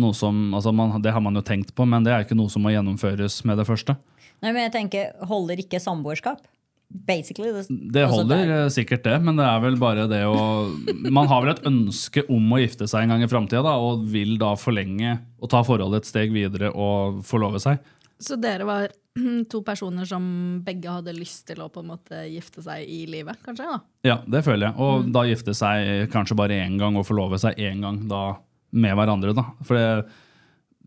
Speaker 6: noe som altså man, Det har man jo tenkt på, men det er jo ikke noe som må gjennomføres med det første.
Speaker 3: Nei, men jeg tenker, Holder ikke samboerskap? Basically. Det,
Speaker 6: Det
Speaker 3: altså,
Speaker 6: holder
Speaker 3: det er-
Speaker 6: eh, sikkert, det, men det er vel bare det å Man har vel et ønske om å gifte seg en gang i framtida, og vil da forlenge og ta forholdet et steg videre og forlove seg.
Speaker 2: Så dere var to personer som begge hadde lyst til å på en måte gifte seg i livet, kanskje? da?
Speaker 6: Ja, det føler jeg. Og
Speaker 3: Mm.
Speaker 6: da gifte seg kanskje bare én gang og forlove seg én gang da med hverandre. da. For det,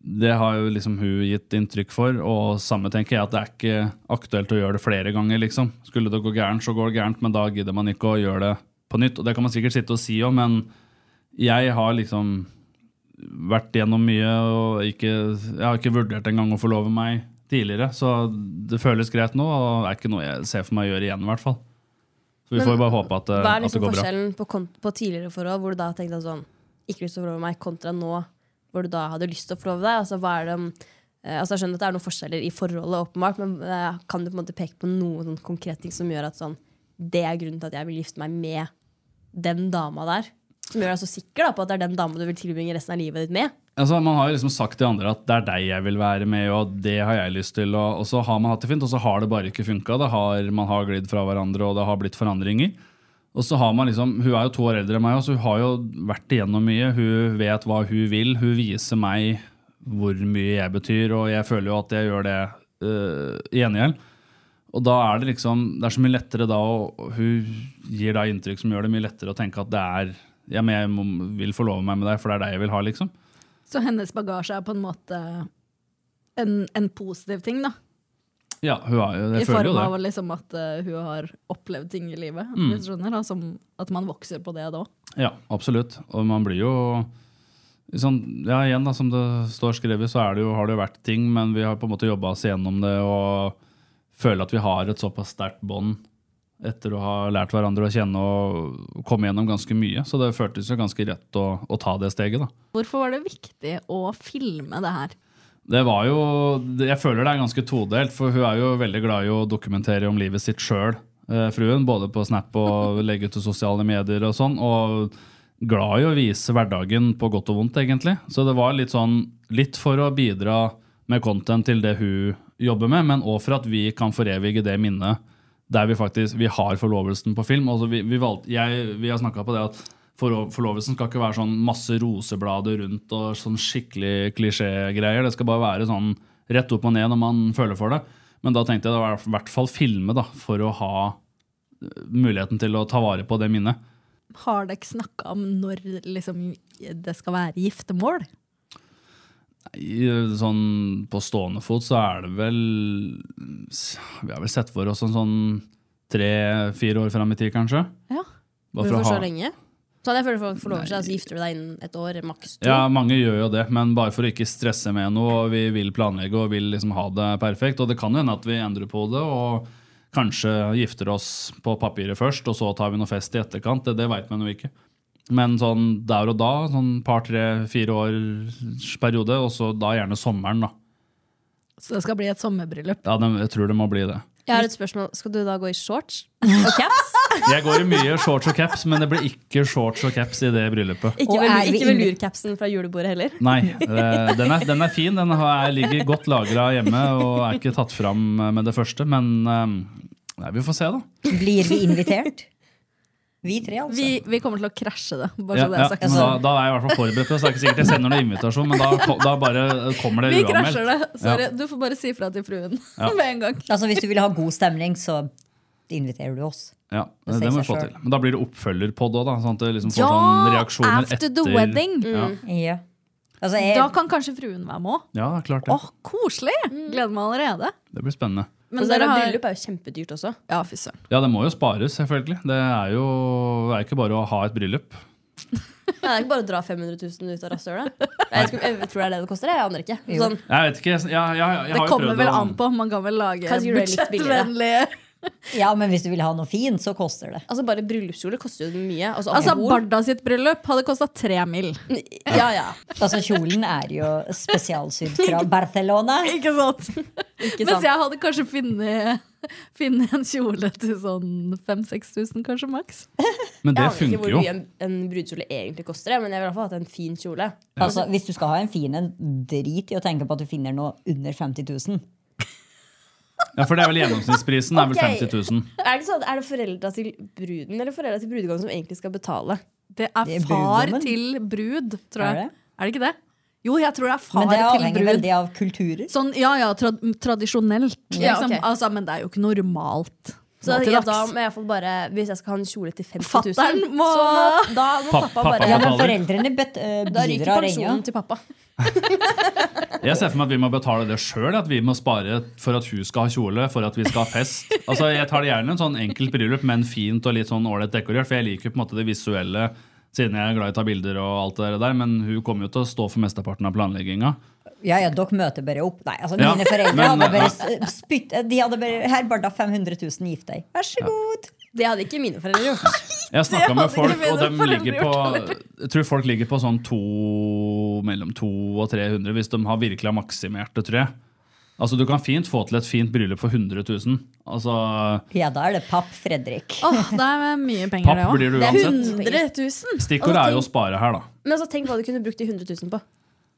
Speaker 6: det har jo liksom hun gitt inntrykk for, og samme tenker jeg at det er ikke aktuelt å gjøre det flere ganger. liksom. Skulle det gå gærent, så går det gærent, men da gidder man ikke å gjøre det på nytt. Og det kan man sikkert sitte og si òg, men jeg har liksom vært gjennom mye og ikke, jeg har ikke vurdert engang å forlove meg tidligere, så det føles greit nå, og er ikke noe jeg ser for meg å gjøre igjen, i hvert fall. Så vi
Speaker 4: Men
Speaker 6: får bare håpe at, det-
Speaker 4: Hva er
Speaker 6: at det
Speaker 4: liksom
Speaker 6: går bra.
Speaker 4: forskjellen på, kont- på tidligere forhold, hvor du da tenkte at sånn Ikke lyst til å forlove meg, kontra nå, hvor du da hadde lyst til å forlove deg? Altså, hva er det, om- eh, altså, jeg skjønner at det er noen forskjeller i forholdet, åpenbart, men eh, kan du på en måte peke på noen sånn konkrete ting som gjør at sånn Det er grunnen til at jeg vil gifte meg med den dama der? Som gjør deg så sikker da, på at det er den dama du vil tilbringe resten av livet ditt med?
Speaker 6: Altså, man har jo liksom sagt til andre at det er deg jeg vil være med, og det har jeg lyst til. Og, og så har man hatt det fint, og så har det bare ikke funka. Det har- Man har glidd fra hverandre, og det har blitt forandringer. Og så har man liksom, Hun er jo to år eldre enn meg, og så hun har jo vært igjennom mye. Hun vet hva hun vil. Hun viser meg hvor mye jeg betyr, og jeg føler jo at jeg gjør det øh, i gjengjeld. Og da er det liksom, det er så mye lettere da, og hun gir da inntrykk som gjør det mye lettere å tenke at det er ja, men jeg må, vil forlove meg med deg, for det er deg jeg vil ha. liksom.
Speaker 2: Så hennes bagasje er på en måte en, en positiv ting, da.
Speaker 6: Ja, hun har, jo-
Speaker 2: I
Speaker 6: jeg føler
Speaker 2: form
Speaker 6: jo
Speaker 2: av
Speaker 6: det.
Speaker 2: liksom at eh, hun har opplevd ting i livet.
Speaker 6: Mm.
Speaker 2: hvis du skjønner, da, som At man vokser på det da.
Speaker 6: Ja, absolutt. Og man blir jo sånn, ja, igjen da, Som det står skrevet, så er det jo, har det jo vært ting, men vi har på en måte jobba oss gjennom det og føler at vi har et såpass sterkt bånd etter å ha lært hverandre å kjenne og komme gjennom ganske mye. Så det føltes jo ganske rett å, å ta det steget. da.
Speaker 2: Hvorfor var det viktig å filme det her?
Speaker 6: Det var jo, Jeg føler det er ganske todelt, for hun er jo veldig glad i å dokumentere om livet sitt sjøl, eh, fruen. Både på Snap og legge ut til sosiale medier og sånn. Og glad i å vise hverdagen på godt og vondt, egentlig. Så det var litt sånn, litt for å bidra med content til det hun jobber med, men òg for at vi kan forevige det minnet der vi faktisk vi har forlovelsen på film. Altså vi, vi, valgte, jeg, vi har snakka på det at forlo- forlovelsen skal ikke være sånn masse roseblader rundt og sånn skikkelig klisjégreier. Det skal bare være sånn rett opp og ned når man føler for det. Men da tenkte jeg det var i hvert fall filme da, for å ha eh, muligheten til å ta vare på det minnet.
Speaker 2: Har dere snakka om når liksom, det skal være giftermål?
Speaker 6: I, eh, sånn, på stående fot så er det vel Vi har vel sett for oss en sånn tre-fire år fram i tid, kanskje.
Speaker 2: Ja.
Speaker 6: Bare for å
Speaker 4: Hvorfor så
Speaker 6: ha-
Speaker 4: lenge? Sånn jeg føler folk forlover seg, og så gifter du deg innen et år, maks to.
Speaker 6: Ja, mange gjør jo det, men bare for å ikke stresse med noe. og Vi vil planlegge og vil liksom ha det perfekt. Og det kan jo hende at vi endrer på det og kanskje gifter oss på papiret først, og så tar vi noe fest i etterkant. Det, det veit man jo ikke. Men sånn der og da, sånn par, tre, fire års periode, og så da gjerne sommeren, da.
Speaker 2: Så det skal bli et sommerbryllup.
Speaker 6: Ja, det, jeg tror det må bli det.
Speaker 4: Jeg har et spørsmål. Skal du da gå i shorts og caps?
Speaker 6: Jeg går i mye shorts og caps, men det blir ikke shorts og caps i det bryllupet.
Speaker 4: Ikke,
Speaker 3: Og er vi
Speaker 4: vel, ikke
Speaker 3: inne-
Speaker 4: velurcapsen fra julebordet heller.
Speaker 6: Nei, eh, den er, den er fin. Den har, jeg ligger godt lagra hjemme og er ikke tatt fram eh, med det første. Men eh, nei, vi får se, da.
Speaker 3: Blir vi invitert? Vi tre, altså.
Speaker 2: Vi, vi kommer til å krasje det. Bare
Speaker 6: Ja,
Speaker 2: så det
Speaker 6: ja,
Speaker 2: er altså- sagt.
Speaker 6: men da, da er jeg i hvert fall forberedt på det. Så det er ikke sikkert jeg sender noen invitasjon, men da, ko- da bare kommer det
Speaker 2: vi
Speaker 6: uanmeldt.
Speaker 2: krasjer det. Sorry.
Speaker 6: Ja.
Speaker 2: Du får bare si fra til fruen
Speaker 6: Ja.
Speaker 2: med en gang.
Speaker 3: Altså, hvis du vil ha god stemning, så inviterer du oss.
Speaker 6: Ja,
Speaker 3: Det
Speaker 6: det,
Speaker 3: sier
Speaker 6: må vi
Speaker 3: seg
Speaker 6: få
Speaker 3: selv.
Speaker 6: til. Men da blir det oppfølgerpod òg, da. Sånn at det liksom får
Speaker 2: Ja,
Speaker 6: sånn reaksjoner
Speaker 2: after
Speaker 6: etter
Speaker 2: the wedding.
Speaker 6: Ja.
Speaker 3: Ja. Altså, jeg,
Speaker 2: Da kan kanskje fruen være med òg.
Speaker 6: ja, klart det.
Speaker 2: Koselig! Gleder meg allerede.
Speaker 6: Det blir spennende.
Speaker 2: Men
Speaker 4: og så er
Speaker 2: dere
Speaker 4: det
Speaker 2: har-
Speaker 4: bryllup er jo kjempedyrt også.
Speaker 2: Ja, fy søren.
Speaker 6: Ja, det må jo spares, selvfølgelig. Det er jo det er ikke bare å ha et bryllup.
Speaker 4: Ja, det er ikke bare å dra 500 000 ut av rasshølet. Jeg, vet ikke om- jeg tror det er det det koster. Jeg aner ikke. Sånn,
Speaker 6: Jeg vet ikke, jeg, jeg, jeg, jeg
Speaker 2: Det
Speaker 6: har jo
Speaker 2: kommer
Speaker 6: prøvd
Speaker 2: vel
Speaker 6: å-
Speaker 2: an på. Man kan vel lage
Speaker 4: Kanskje gjøre det litt
Speaker 2: budsjettvennlige
Speaker 3: ja, men hvis du vil ha noe fint, så koster det.
Speaker 4: altså Bare bryllupskjole koster jo mye. Altså,
Speaker 2: Altså,
Speaker 4: alkohol-
Speaker 2: Barda sitt bryllup hadde kosta tre mil.
Speaker 4: Ja, ja.
Speaker 3: Altså, kjolen er jo spesialsydd fra Barcelona.
Speaker 2: Ikke sant?
Speaker 4: Ikke
Speaker 2: Mens
Speaker 4: sant.
Speaker 2: jeg hadde kanskje funnet, funnet en kjole til sånn 5000-6000, kanskje maks.
Speaker 6: Men det
Speaker 4: Jeg aner ikke
Speaker 6: funker
Speaker 4: hvor
Speaker 6: jo.
Speaker 4: mye en, en brudekjole egentlig koster, jeg, men jeg vil i hvert fall ha hatt en fin kjole.
Speaker 3: Altså, hvis du skal ha en fin en, drit i å tenke på at du finner noe under 50 000.
Speaker 6: Ja, for det er vel gjennomsnittsprisen er vel
Speaker 4: Ok.
Speaker 6: 50 000.
Speaker 4: Er det, ikke sånn, at- er det foreldra til bruden eller foreldra til brudgommen som egentlig skal betale?
Speaker 2: Det er
Speaker 3: Det er
Speaker 2: far
Speaker 3: brudgommen.
Speaker 2: til brud, tror
Speaker 3: Er
Speaker 2: jeg.
Speaker 3: det?
Speaker 2: Er det ikke det? Jo, jeg tror det er
Speaker 3: Men
Speaker 2: far
Speaker 3: det
Speaker 2: til
Speaker 3: avhenger
Speaker 2: brud.
Speaker 3: veldig av kulturer.
Speaker 2: Sånn, ja ja, tra tradisjonelt.
Speaker 4: Ja,
Speaker 2: liksom.
Speaker 4: ok.
Speaker 2: altså, men det er jo ikke normalt.
Speaker 4: Så
Speaker 2: nå til
Speaker 4: ja,
Speaker 2: dags.
Speaker 4: da må jeg i hvert fall bare, Hvis jeg skal ha en kjole til 50 000,
Speaker 2: Fatteren må-
Speaker 4: så må, da må
Speaker 6: Papp-
Speaker 4: pappa
Speaker 6: pappa
Speaker 4: bare
Speaker 3: Ja, men
Speaker 6: betaler.
Speaker 3: foreldrene bet, eh,
Speaker 4: Da ryker
Speaker 3: bidrar ennå.
Speaker 4: pensjonen til pappa.
Speaker 6: Jeg ser for meg at vi må betale det sjøl, at vi må spare for at hun skal ha kjole, for at vi skal ha fest. Altså, Jeg tar det gjerne en sånn enkelt bryllup, men fint og litt sånn ålreit dekorert, for jeg liker jo på en måte det visuelle, siden jeg er glad i å ta bilder og alt det der, men hun kommer jo til å stå for mesteparten av planlegginga.
Speaker 3: Ja, ja, dere møter bare opp. Nei, altså,
Speaker 6: Ja,
Speaker 3: mine foreldre
Speaker 6: men-
Speaker 3: hadde bare s- eh, spytt De hadde bare Her, Barda, 500 000, gift deg. Vær så
Speaker 6: Ja.
Speaker 3: god.
Speaker 4: Det hadde ikke mine foreldre gjort.
Speaker 6: Jeg har snakka med
Speaker 4: Det hadde
Speaker 6: folk,
Speaker 4: ikke
Speaker 6: og de
Speaker 4: mine
Speaker 6: ligger på
Speaker 4: foreldre gjort heller.
Speaker 6: Jeg tror folk ligger på sånn to, mellom 200 og 300, hvis de har virkelig har maksimert det, tror jeg. Altså, Du kan fint få til et fint bryllup for 100 000. Altså,
Speaker 3: Ja, da er det papp Fredrik.
Speaker 2: Åh, det er mye penger,
Speaker 6: Papp blir det
Speaker 2: Det er
Speaker 6: uansett.
Speaker 2: 100 000.
Speaker 6: Stikkordet er jo å spare her, da.
Speaker 4: Men altså, tenk hva du kunne brukt de 100 000 på.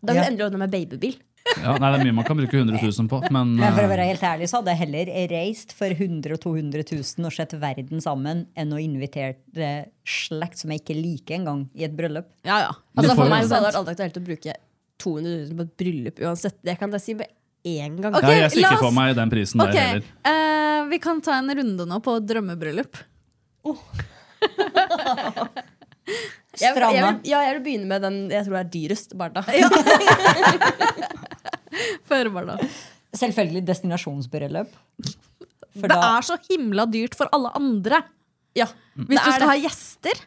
Speaker 4: Da ville du endelig ordna meg babybil.
Speaker 6: Ja, nei, det er mye man kan bruke 100 000 på, men
Speaker 3: Men for å
Speaker 6: eh,
Speaker 3: være helt ærlig så hadde jeg heller reist for 100 000 og 200 000 og sett verden sammen enn å invitere eh, slekt som jeg ikke liker engang, i et bryllup.
Speaker 4: Ja, ja.
Speaker 3: Du
Speaker 4: Altså,
Speaker 3: får
Speaker 4: for
Speaker 3: jo-
Speaker 4: meg så hadde det vært aldri aktuelt å bruke 200 000 på et bryllup uansett. Det kan jeg si med én gang.
Speaker 2: Ok,
Speaker 6: ja, eh, Jeg ser
Speaker 2: la
Speaker 6: ikke
Speaker 2: oss-
Speaker 6: for meg den prisen
Speaker 2: Ok,
Speaker 6: der heller.
Speaker 2: eh, vi kan ta en runde nå på drømmebryllup.
Speaker 4: Jeg, jeg,
Speaker 2: Stranda.
Speaker 4: vil, ja, jeg vil begynne med den jeg tror er dyrest, Barda.
Speaker 2: Før Barda.
Speaker 3: Selvfølgelig destinasjonsbryllup. For
Speaker 2: det
Speaker 3: da- Mm.
Speaker 2: er så himla dyrt for alle andre. Hvis
Speaker 4: Det
Speaker 2: du
Speaker 4: er
Speaker 2: skal
Speaker 4: det.
Speaker 2: ha gjester,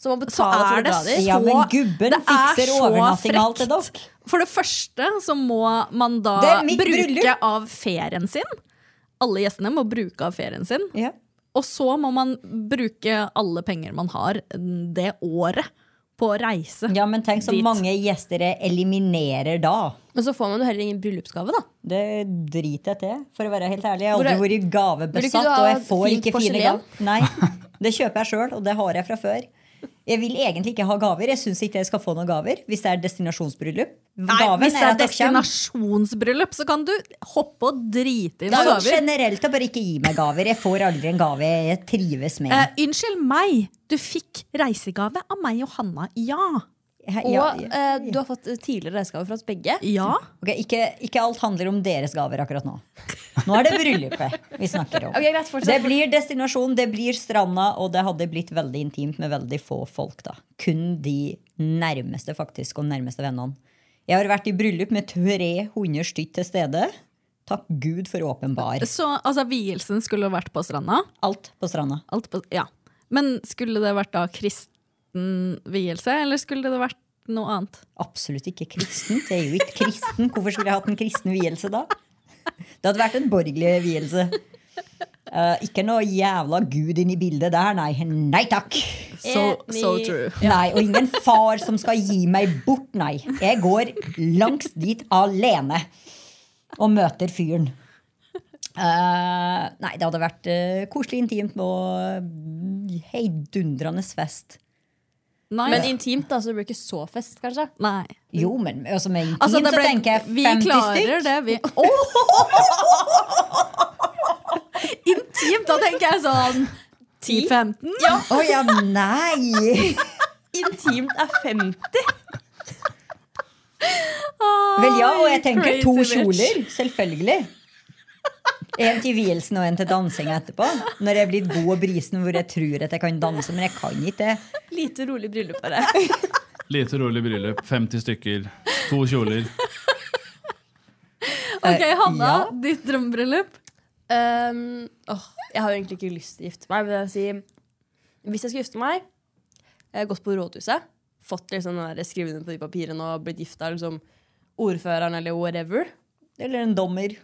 Speaker 4: så,
Speaker 3: betale for
Speaker 2: er
Speaker 3: å
Speaker 2: det
Speaker 3: dra
Speaker 2: så
Speaker 3: dit. Ja, men gubben
Speaker 2: det er
Speaker 3: fikser
Speaker 2: så
Speaker 3: overnatting og alt det
Speaker 2: frekt. For det første så må man da
Speaker 3: Det er mitt
Speaker 2: bruke
Speaker 3: bryllup.
Speaker 2: av ferien sin. Alle gjestene må bruke av ferien sin. Og så må man bruke alle penger man har det året, på å reise
Speaker 3: Ja, men tenk så
Speaker 2: dit.
Speaker 3: mange gjester jeg eliminerer da.
Speaker 4: Men så får man jo heller ingen bryllupsgave, da.
Speaker 3: Det driter jeg til, for å være helt ærlig. Jeg har
Speaker 4: Hvor er-
Speaker 3: aldri vært
Speaker 4: Vil ikke
Speaker 3: gavebesatt,
Speaker 4: du ha
Speaker 3: og jeg får
Speaker 4: fint
Speaker 3: ikke fine
Speaker 4: porselen?
Speaker 3: gaver. Nei, det kjøper jeg sjøl, og det har jeg fra før. Jeg vil egentlig ikke ha gaver. Jeg syns ikke jeg skal få noen gaver hvis det er destinasjonsbryllup.
Speaker 2: Nei,
Speaker 3: Gaven
Speaker 2: hvis det er
Speaker 3: at dere kommer.
Speaker 2: destinasjonsbryllup, så kan du hoppe og drite i
Speaker 3: Sånn
Speaker 2: noen gaver.
Speaker 3: generelt å bare ikke gi meg gaver. Jeg får aldri en gave jeg trives med.
Speaker 2: Eh, unnskyld meg, du fikk reisegave av meg og Hanna, ja.
Speaker 4: Og eh, du har fått tidligere reisegave fra oss begge.
Speaker 2: Ja.
Speaker 3: Ok, ikke, ikke alt handler om deres gaver akkurat nå. Nå er det bryllupet vi snakker om.
Speaker 4: Ok, greit, fortsett.
Speaker 3: det blir destinasjon, det blir stranda, og det hadde blitt veldig intimt med veldig få folk. da. Kun de nærmeste faktisk, og nærmeste vennene. Jeg har vært i bryllup med 300 stykk til stede. Takk Gud for åpenbar.
Speaker 2: Så altså, vielsen skulle vært på stranda?
Speaker 3: Alt på stranda.
Speaker 2: ja. Men skulle det vært da kristen vielse, eller skulle det vært noe annet?
Speaker 3: Absolutt ikke kristent. Jeg er jo ikke kristen. Hvorfor skulle jeg hatt en kristen vielse da? Det hadde vært en borgerlig vielse. Eh, ikke noe jævla gud inn i bildet der, nei. Nei takk!
Speaker 2: So- so true.
Speaker 3: Nei, Og ingen far som skal gi meg bort, nei. Jeg går langs dit alene og møter fyren. Eh, nei, det hadde vært eh, koselig, intimt og mm, heidundrende fest.
Speaker 4: Men intimt, da, så det blir ikke så fest, kanskje.
Speaker 2: Nei.
Speaker 3: Jo, men altså, med intimt
Speaker 4: Altså, det
Speaker 3: så
Speaker 4: ble-
Speaker 3: tenker jeg 50
Speaker 4: vi
Speaker 3: stykk.
Speaker 4: klarer
Speaker 2: det, vi. Intimt, da tenker jeg sånn 10-15?
Speaker 3: Ja. ja, nei!
Speaker 4: Intimt er 50.
Speaker 3: Vel, ja, og jeg tenker
Speaker 4: Crazy
Speaker 3: to
Speaker 4: bitch.
Speaker 3: kjoler. Selvfølgelig. En til vielsen og en til dansinga etterpå. Når jeg er blitt god og brisen hvor jeg tror at jeg kan danse, men jeg kan ikke det.
Speaker 4: Lite rolig bryllup er det.
Speaker 6: Lite rolig bryllup, 50 stykker, to kjoler.
Speaker 2: Ok,
Speaker 4: Eh,
Speaker 2: Hanna, ditt drømmebryllup?
Speaker 4: Um, åh, jeg har jo egentlig ikke lyst til å gifte meg, men jeg sier Hvis jeg skulle gifte meg, jeg har gått på rådhuset, fått liksom den der skrevet under på de papirene og blitt gifta av liksom, ordføreren eller whatever
Speaker 3: Eller en dommer.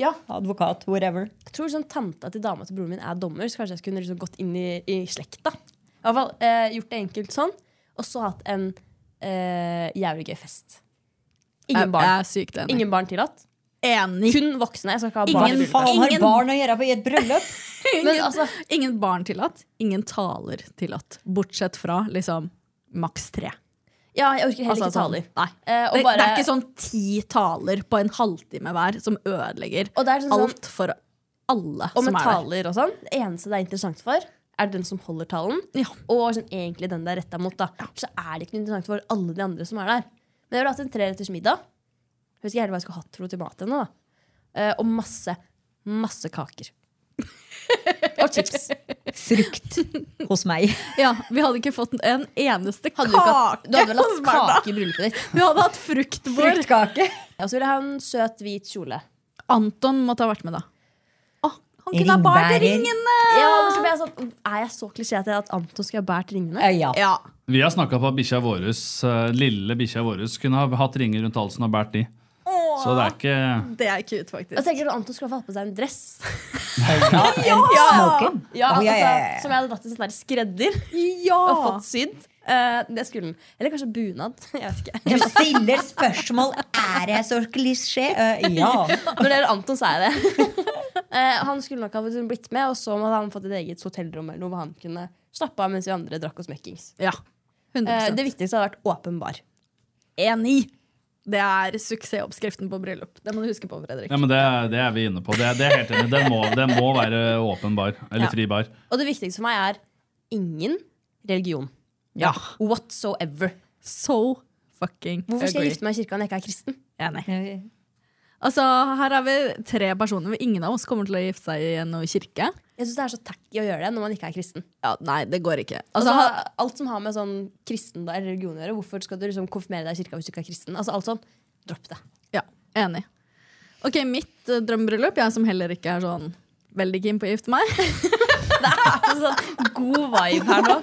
Speaker 4: Ja.
Speaker 3: Advokat. Whatever.
Speaker 4: Jeg tror liksom tanta til dama til broren min er dommer, så kanskje jeg kunne liksom gått inn i, i slekta. I hvert fall eh, Gjort det enkelt sånn, og så hatt en eh, jævlig gøy fest.
Speaker 2: Jeg-
Speaker 4: Ingen barn.
Speaker 2: jeg er sykt enig.
Speaker 4: Ingen barn tillatt. Kun voksne. Jeg skal ikke ha barn. i
Speaker 2: Ingen
Speaker 4: bryllupet.
Speaker 3: faen har barn å gjøre på i et bryllup?
Speaker 2: Ingen,
Speaker 4: altså.
Speaker 2: ingen barn tillatt, ingen taler tillatt. Bortsett fra liksom maks tre.
Speaker 4: Ja, jeg orker heller
Speaker 2: Altså,
Speaker 4: ikke taler.
Speaker 2: sånn, Nei.
Speaker 4: Eh, og
Speaker 2: det,
Speaker 4: bare-
Speaker 2: det er ikke sånn ti taler på en halvtime hver som ødelegger
Speaker 4: sånn-
Speaker 2: alt for alle
Speaker 4: Og
Speaker 2: som
Speaker 4: med
Speaker 2: er der.
Speaker 4: taler og sånn. Det eneste det er interessant for, er den som holder talen. Og sånn, egentlig den det er retta mot. Da. Så er det ikke noe interessant for alle de andre som er der. Men jeg ville hatt en treretters middag. Jeg husker heller hva jeg skulle hatt for noe til mat ennå. da. Eh, og masse, masse kaker. og chips.
Speaker 3: Frukt hos meg.
Speaker 2: Ja, vi hadde ikke fått en eneste
Speaker 4: du ikke hatt-
Speaker 2: kake
Speaker 4: du hadde vel hatt
Speaker 2: hos Berna.
Speaker 4: kake i bryllupet ditt?
Speaker 2: Vi hadde hatt fruktbord.
Speaker 3: Fruktkake.
Speaker 4: Og så vil jeg ha en søt, hvit kjole.
Speaker 2: Anton måtte ha vært med, da. Å, han kunne ha båret ringene!
Speaker 4: Ja, men så ble jeg sånn, er jeg så klisjé til at Anton skulle ha båret
Speaker 3: Eh,
Speaker 4: ringene? ja.
Speaker 6: Vi har snakka på at bikkja våres, eh, lille bikkja vår kunne ha hatt ringer rundt halsen og båret de.
Speaker 4: Åh.
Speaker 6: Så det er ikke
Speaker 2: Det er cute, faktisk.
Speaker 4: Jeg tenker at Anton skulle ha fått på seg en dress.
Speaker 6: Ja,
Speaker 4: Ja!
Speaker 3: smoking. Å, ja,
Speaker 4: Ja,
Speaker 3: ja,
Speaker 4: altså,
Speaker 3: ja, ja.
Speaker 4: Som jeg hadde dratt i sånn der skredder og fått sydd. Eh, det skulle han. Eller kanskje bunad. Jeg vet ikke.
Speaker 3: Du stiller spørsmål Er jeg så klisjé? Eh, ja.
Speaker 4: Når det gjelder Anton, så er jeg det. Eh, han skulle nok ha blitt med, og så hadde han fått et eget hotellrom eller noe hvor han kunne slappe av mens vi andre drakk oss møkkings. Eh,
Speaker 2: 100%.
Speaker 4: det viktigste hadde vært åpenbar.
Speaker 2: Enig! E Det er suksessoppskriften på bryllup. Det må du huske på, Fredrik.
Speaker 6: Ja, men det, er- det er vi inne på. Det, er- det er helt enig. Den må, den må være åpen bar. Eller
Speaker 4: Ja.
Speaker 6: fri bar.
Speaker 4: Og det viktigste for meg er ingen religion.
Speaker 6: Ja.
Speaker 4: Whatsoever.
Speaker 2: So fucking
Speaker 4: Hvorfor skal
Speaker 2: agree.
Speaker 4: jeg gifte meg i kirka når jeg ikke er kristen?
Speaker 2: Enig. Altså, Her er vi tre personer. Ingen av oss kommer til å gifte seg i noen kirke.
Speaker 4: Jeg syns det er så tacky å gjøre det når man ikke er kristen.
Speaker 2: Ja, Nei, det går ikke.
Speaker 4: Altså,
Speaker 2: Altså,
Speaker 4: ha- alt som har med sånn kristen eller religion å gjøre, hvorfor skal du liksom konfirmere deg i kirka hvis du ikke er kristen? Altså, alt sånn, Dropp det.
Speaker 2: Ja, enig. Ok, mitt eh, drømmebryllup, jeg som heller ikke er sånn veldig keen på å gifte meg. altså
Speaker 4: God vibe her nå.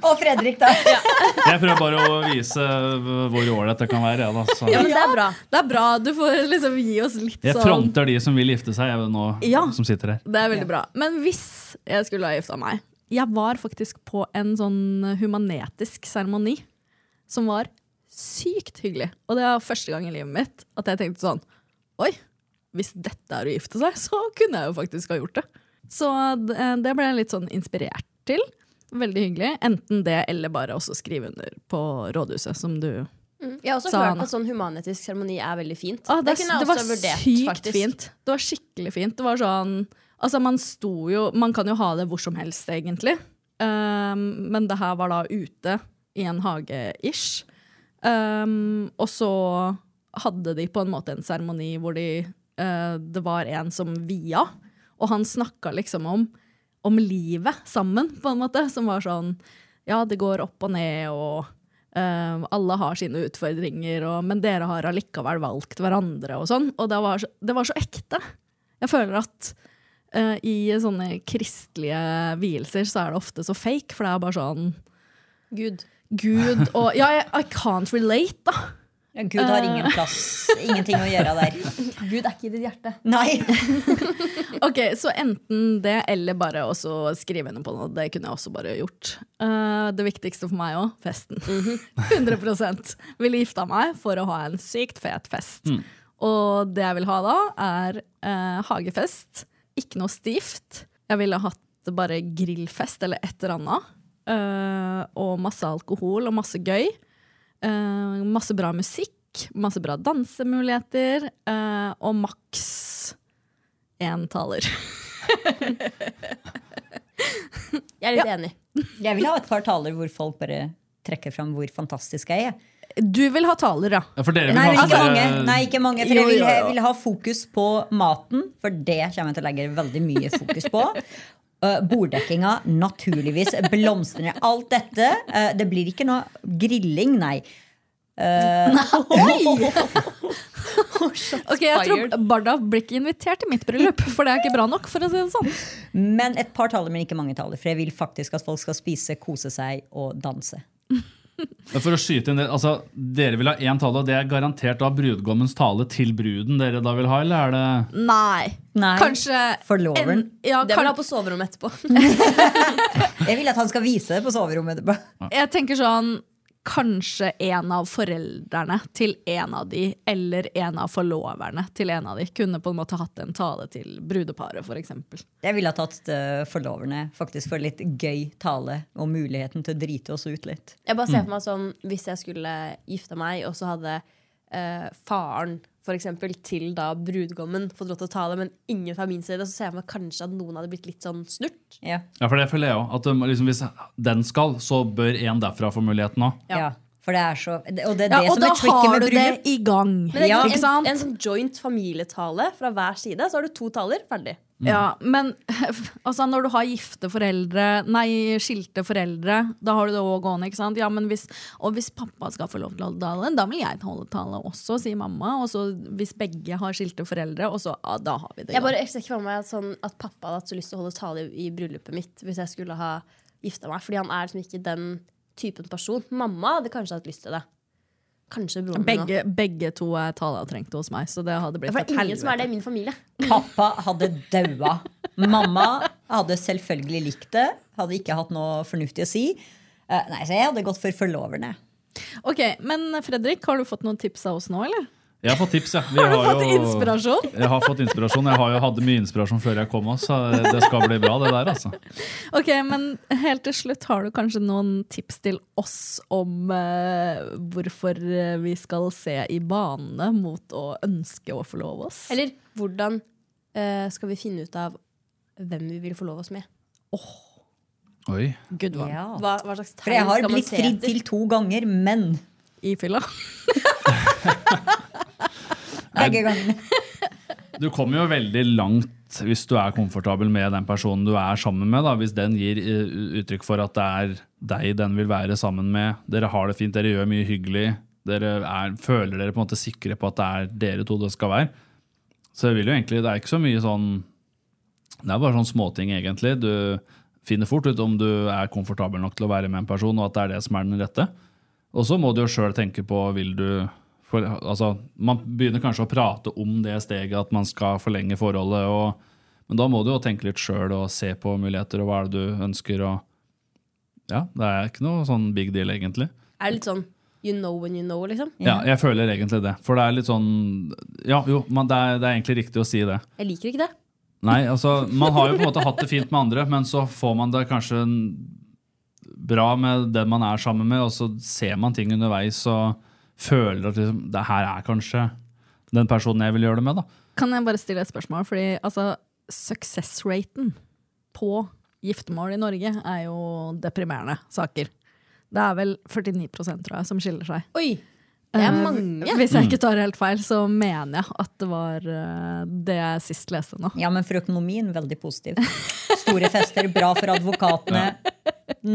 Speaker 3: Og Fredrik, da.
Speaker 6: Jeg prøver bare å vise eh, hvor ålreit det kan være. Ja, da. Så.
Speaker 2: Ja, men
Speaker 4: det er bra.
Speaker 2: Det er bra. Du får liksom gi oss litt
Speaker 6: Jeg
Speaker 2: sånn
Speaker 6: fronter de som vil gifte seg, jeg nå
Speaker 2: Ja.
Speaker 6: som sitter her.
Speaker 2: Det er veldig bra. Men hvis jeg skulle ha gifta meg Jeg var faktisk på en sånn humanetisk seremoni som var sykt hyggelig. Og det var første gang i livet mitt at jeg tenkte sånn Oi, hvis dette er å gifte seg, så kunne jeg jo faktisk ha gjort det. Så det det ble jeg litt sånn inspirert til. Veldig hyggelig. Enten det eller bare også skrive under på rådhuset, som du
Speaker 4: Mm. Jeg har også
Speaker 2: Sa han.
Speaker 4: hørt at sånn humanetisk seremoni er veldig fint.
Speaker 2: Ah, det,
Speaker 4: kunne jeg
Speaker 2: det var
Speaker 4: også vurdert,
Speaker 2: sykt
Speaker 4: faktisk.
Speaker 2: fint. Det var skikkelig fint. Det var sånn Altså, man sto jo Man kan jo ha det hvor som helst, egentlig. Um, men det her var da ute i en hage-ish. Um, og så hadde de på en måte en seremoni hvor de eh, Det var en som via, og han snakka liksom om om livet sammen, på en måte. Som var sånn Ja, det går opp og ned, og eh, alle har sine utfordringer, og, men dere har allikevel valgt hverandre, og sånn. Og det var så, det var så ekte. Jeg føler at eh, i sånne kristelige vielser så er det ofte så fake, for det er bare sånn
Speaker 4: Gud.
Speaker 2: Gud og Ja, jeg, I can't relate, da.
Speaker 3: Ja, Gud har
Speaker 2: Eh.
Speaker 3: ingen plass. Ingenting å gjøre der.
Speaker 4: Gud er ikke i ditt hjerte.
Speaker 3: Nei.
Speaker 2: Ok, Så enten det, eller bare også skrive under på noe. Det kunne jeg også bare gjort. Eh, det viktigste for meg òg festen. 100 Ville gifta meg for å ha en sykt fet fest. Og det jeg vil ha da, er eh, hagefest. Ikke noe stivt. Jeg ville hatt bare grillfest eller et eller annet. Eh, og masse alkohol og masse gøy. Eh, masse bra musikk, masse bra dansemuligheter, eh, og maks én taler.
Speaker 4: Jeg er litt enig.
Speaker 3: Jeg vil ha et par taler hvor folk bare trekker fram hvor fantastisk jeg er.
Speaker 2: Du vil ha taler, ja.
Speaker 6: Ja, for dere vil
Speaker 3: Nei,
Speaker 6: ha sånn
Speaker 3: ikke
Speaker 6: sånne-
Speaker 3: mange. Nei, ikke mange for
Speaker 2: Jo,
Speaker 3: jeg vil,
Speaker 2: jo, jo.
Speaker 3: jeg vil ha fokus på maten, for det kommer jeg til å legge veldig mye fokus på. Eh, Borddekkinga, naturligvis. Blomstene. Alt dette. Eh, det blir ikke noe grilling, nei. Eh,
Speaker 2: Ok, Jeg tror Barda blir ikke invitert til mitt bryllup, for det er ikke bra nok. for å si det sånn.
Speaker 3: men et par taler, men ikke mange taler. For jeg vil faktisk at folk skal spise, kose seg og danse.
Speaker 6: Ja, For å skyte inn det, altså, Dere vil ha én tale, og det er garantert da brudgommens tale til bruden dere da vil ha, eller er det
Speaker 2: Nei.
Speaker 3: Nei,
Speaker 2: Kanskje
Speaker 3: forloveren.
Speaker 2: en- ja,
Speaker 4: Det vil
Speaker 2: kan,
Speaker 4: jeg ha på soverommet etterpå.
Speaker 3: Jeg vil at han skal vise det på soverommet. etterpå.
Speaker 2: Jeg tenker sånn Kanskje en av foreldrene til en av de, eller en av forloverne til en av de, kunne på en måte hatt en tale til brudeparet, f.eks.
Speaker 3: Jeg ville ha tatt eh, forloverne faktisk for litt gøy tale og muligheten til å drite oss ut litt.
Speaker 2: Mm.
Speaker 4: Jeg bare ser for meg sånn, Hvis jeg skulle gifta meg, og så hadde eh, faren for eksempel, til da brudgommen fått lov til å tale, men ingen fra min side, så ser jeg for meg kanskje at noen hadde blitt litt sånn snurt.
Speaker 3: Ja.
Speaker 6: Ja, for det føler jeg òg. At um, liksom, hvis den skal, så bør en derfra få muligheten òg.
Speaker 3: Ja. For det er så det- Og det er
Speaker 2: Ja,
Speaker 3: det
Speaker 2: og
Speaker 3: som
Speaker 2: da
Speaker 3: er tricky
Speaker 2: har
Speaker 3: med
Speaker 2: du det
Speaker 3: bryllup.
Speaker 2: i gang.
Speaker 4: Men det er
Speaker 3: Ja.
Speaker 4: ikke
Speaker 2: Ikke
Speaker 4: en,
Speaker 2: sant?
Speaker 4: en sånn joint familietale fra hver side, så har du to taler, ferdig.
Speaker 2: Ja, men altså, når du har gifte foreldre, nei, skilte foreldre, da har du det òg gående. ikke sant? Ja, men hvis, og hvis pappa skal få lov til å holde tale, da vil jeg holde tale også, sier mamma. Og så hvis begge har skilte foreldre, og så, ja, da har vi det.
Speaker 4: Jeg bare jeg ser ikke for meg at, sånn, at pappa hadde hatt så lyst til å holde tale i, i bryllupet mitt hvis jeg skulle ha gifta meg. Fordi han er liksom ikke den typen person. Mamma hadde kanskje hatt lyst til det. Kanskje broren min
Speaker 2: begge, begge to er taleavtrengte hos meg, så det hadde
Speaker 4: Ja,
Speaker 2: blitt
Speaker 4: For
Speaker 2: et
Speaker 4: det er ingen som er det
Speaker 2: helvete.
Speaker 4: i min familie.
Speaker 3: Pappa hadde daua. Mamma hadde selvfølgelig likt det. Hadde ikke hatt noe fornuftig å si. Eh, Nei, Så jeg hadde gått for forloverne.
Speaker 2: Ok, Men Fredrik, har du fått noen tips av oss nå, eller?
Speaker 6: Jeg har fått tips, ja. Vi
Speaker 2: Har du fått
Speaker 6: jo-
Speaker 2: inspirasjon?
Speaker 6: Jeg har fått inspirasjon. Jeg har jo hadde mye inspirasjon før jeg kom òg, så det skal bli bra, det der, altså.
Speaker 2: Ok, Men helt til slutt, har du kanskje noen tips til oss om eh, hvorfor eh, vi skal se i bane mot å ønske å forlove oss?
Speaker 4: Eller hvordan eh, skal vi finne ut av hvem vi vil forlove oss med?
Speaker 6: Oi.
Speaker 2: Good one.
Speaker 4: Hva, hva slags
Speaker 3: For jeg
Speaker 4: tegn
Speaker 3: har
Speaker 4: skal man
Speaker 3: blitt
Speaker 4: se
Speaker 3: fridd
Speaker 4: etter?
Speaker 3: til to ganger, men
Speaker 2: I fylla.
Speaker 3: Begge gangene.
Speaker 6: Du kommer jo veldig langt hvis du er komfortabel med den personen du er sammen med. Da. Hvis den gir eh, uttrykk for at det er deg den vil være sammen med, dere har det fint, dere gjør mye hyggelig, dere er, føler dere på en måte sikre på at det er dere to det skal være. Så jeg vil jo egentlig, det er ikke så mye sånn Det er bare sånn småting, egentlig. Du finner fort ut om du er komfortabel nok til å være med en person, og at det er det som er den rette. Og så må du jo sjøl tenke på vil du for, altså, Man begynner kanskje å prate om det steget at man skal forlenge forholdet. Og, men da må du jo tenke litt sjøl og se på muligheter og hva er det du ønsker. Og, ja, Det er ikke noe sånn big deal, egentlig.
Speaker 4: Er det litt sånn you know when you know, liksom?
Speaker 6: Ja, Jeg føler egentlig det. For det er litt sånn Ja, jo, man, det, er, det er egentlig riktig å si det.
Speaker 4: Jeg liker ikke det.
Speaker 6: Nei, altså, man har jo på en måte hatt det fint med andre, men så får man det kanskje en- bra med den man er sammen med, og så ser man ting underveis og føler at liksom, det her er kanskje den personen jeg vil gjøre det med, da.
Speaker 2: Kan jeg bare stille et spørsmål? Fordi altså, success-raten på giftermål i Norge er jo deprimerende saker. Det er vel 49 tror jeg, som skiller seg.
Speaker 4: Oi! Det er
Speaker 2: Eh,
Speaker 4: mange.
Speaker 2: Hvis jeg ikke tar helt feil, så mener jeg at det var eh, det jeg sist leste nå.
Speaker 3: Ja, men for økonomien, veldig positiv. Store fester, bra for advokatene.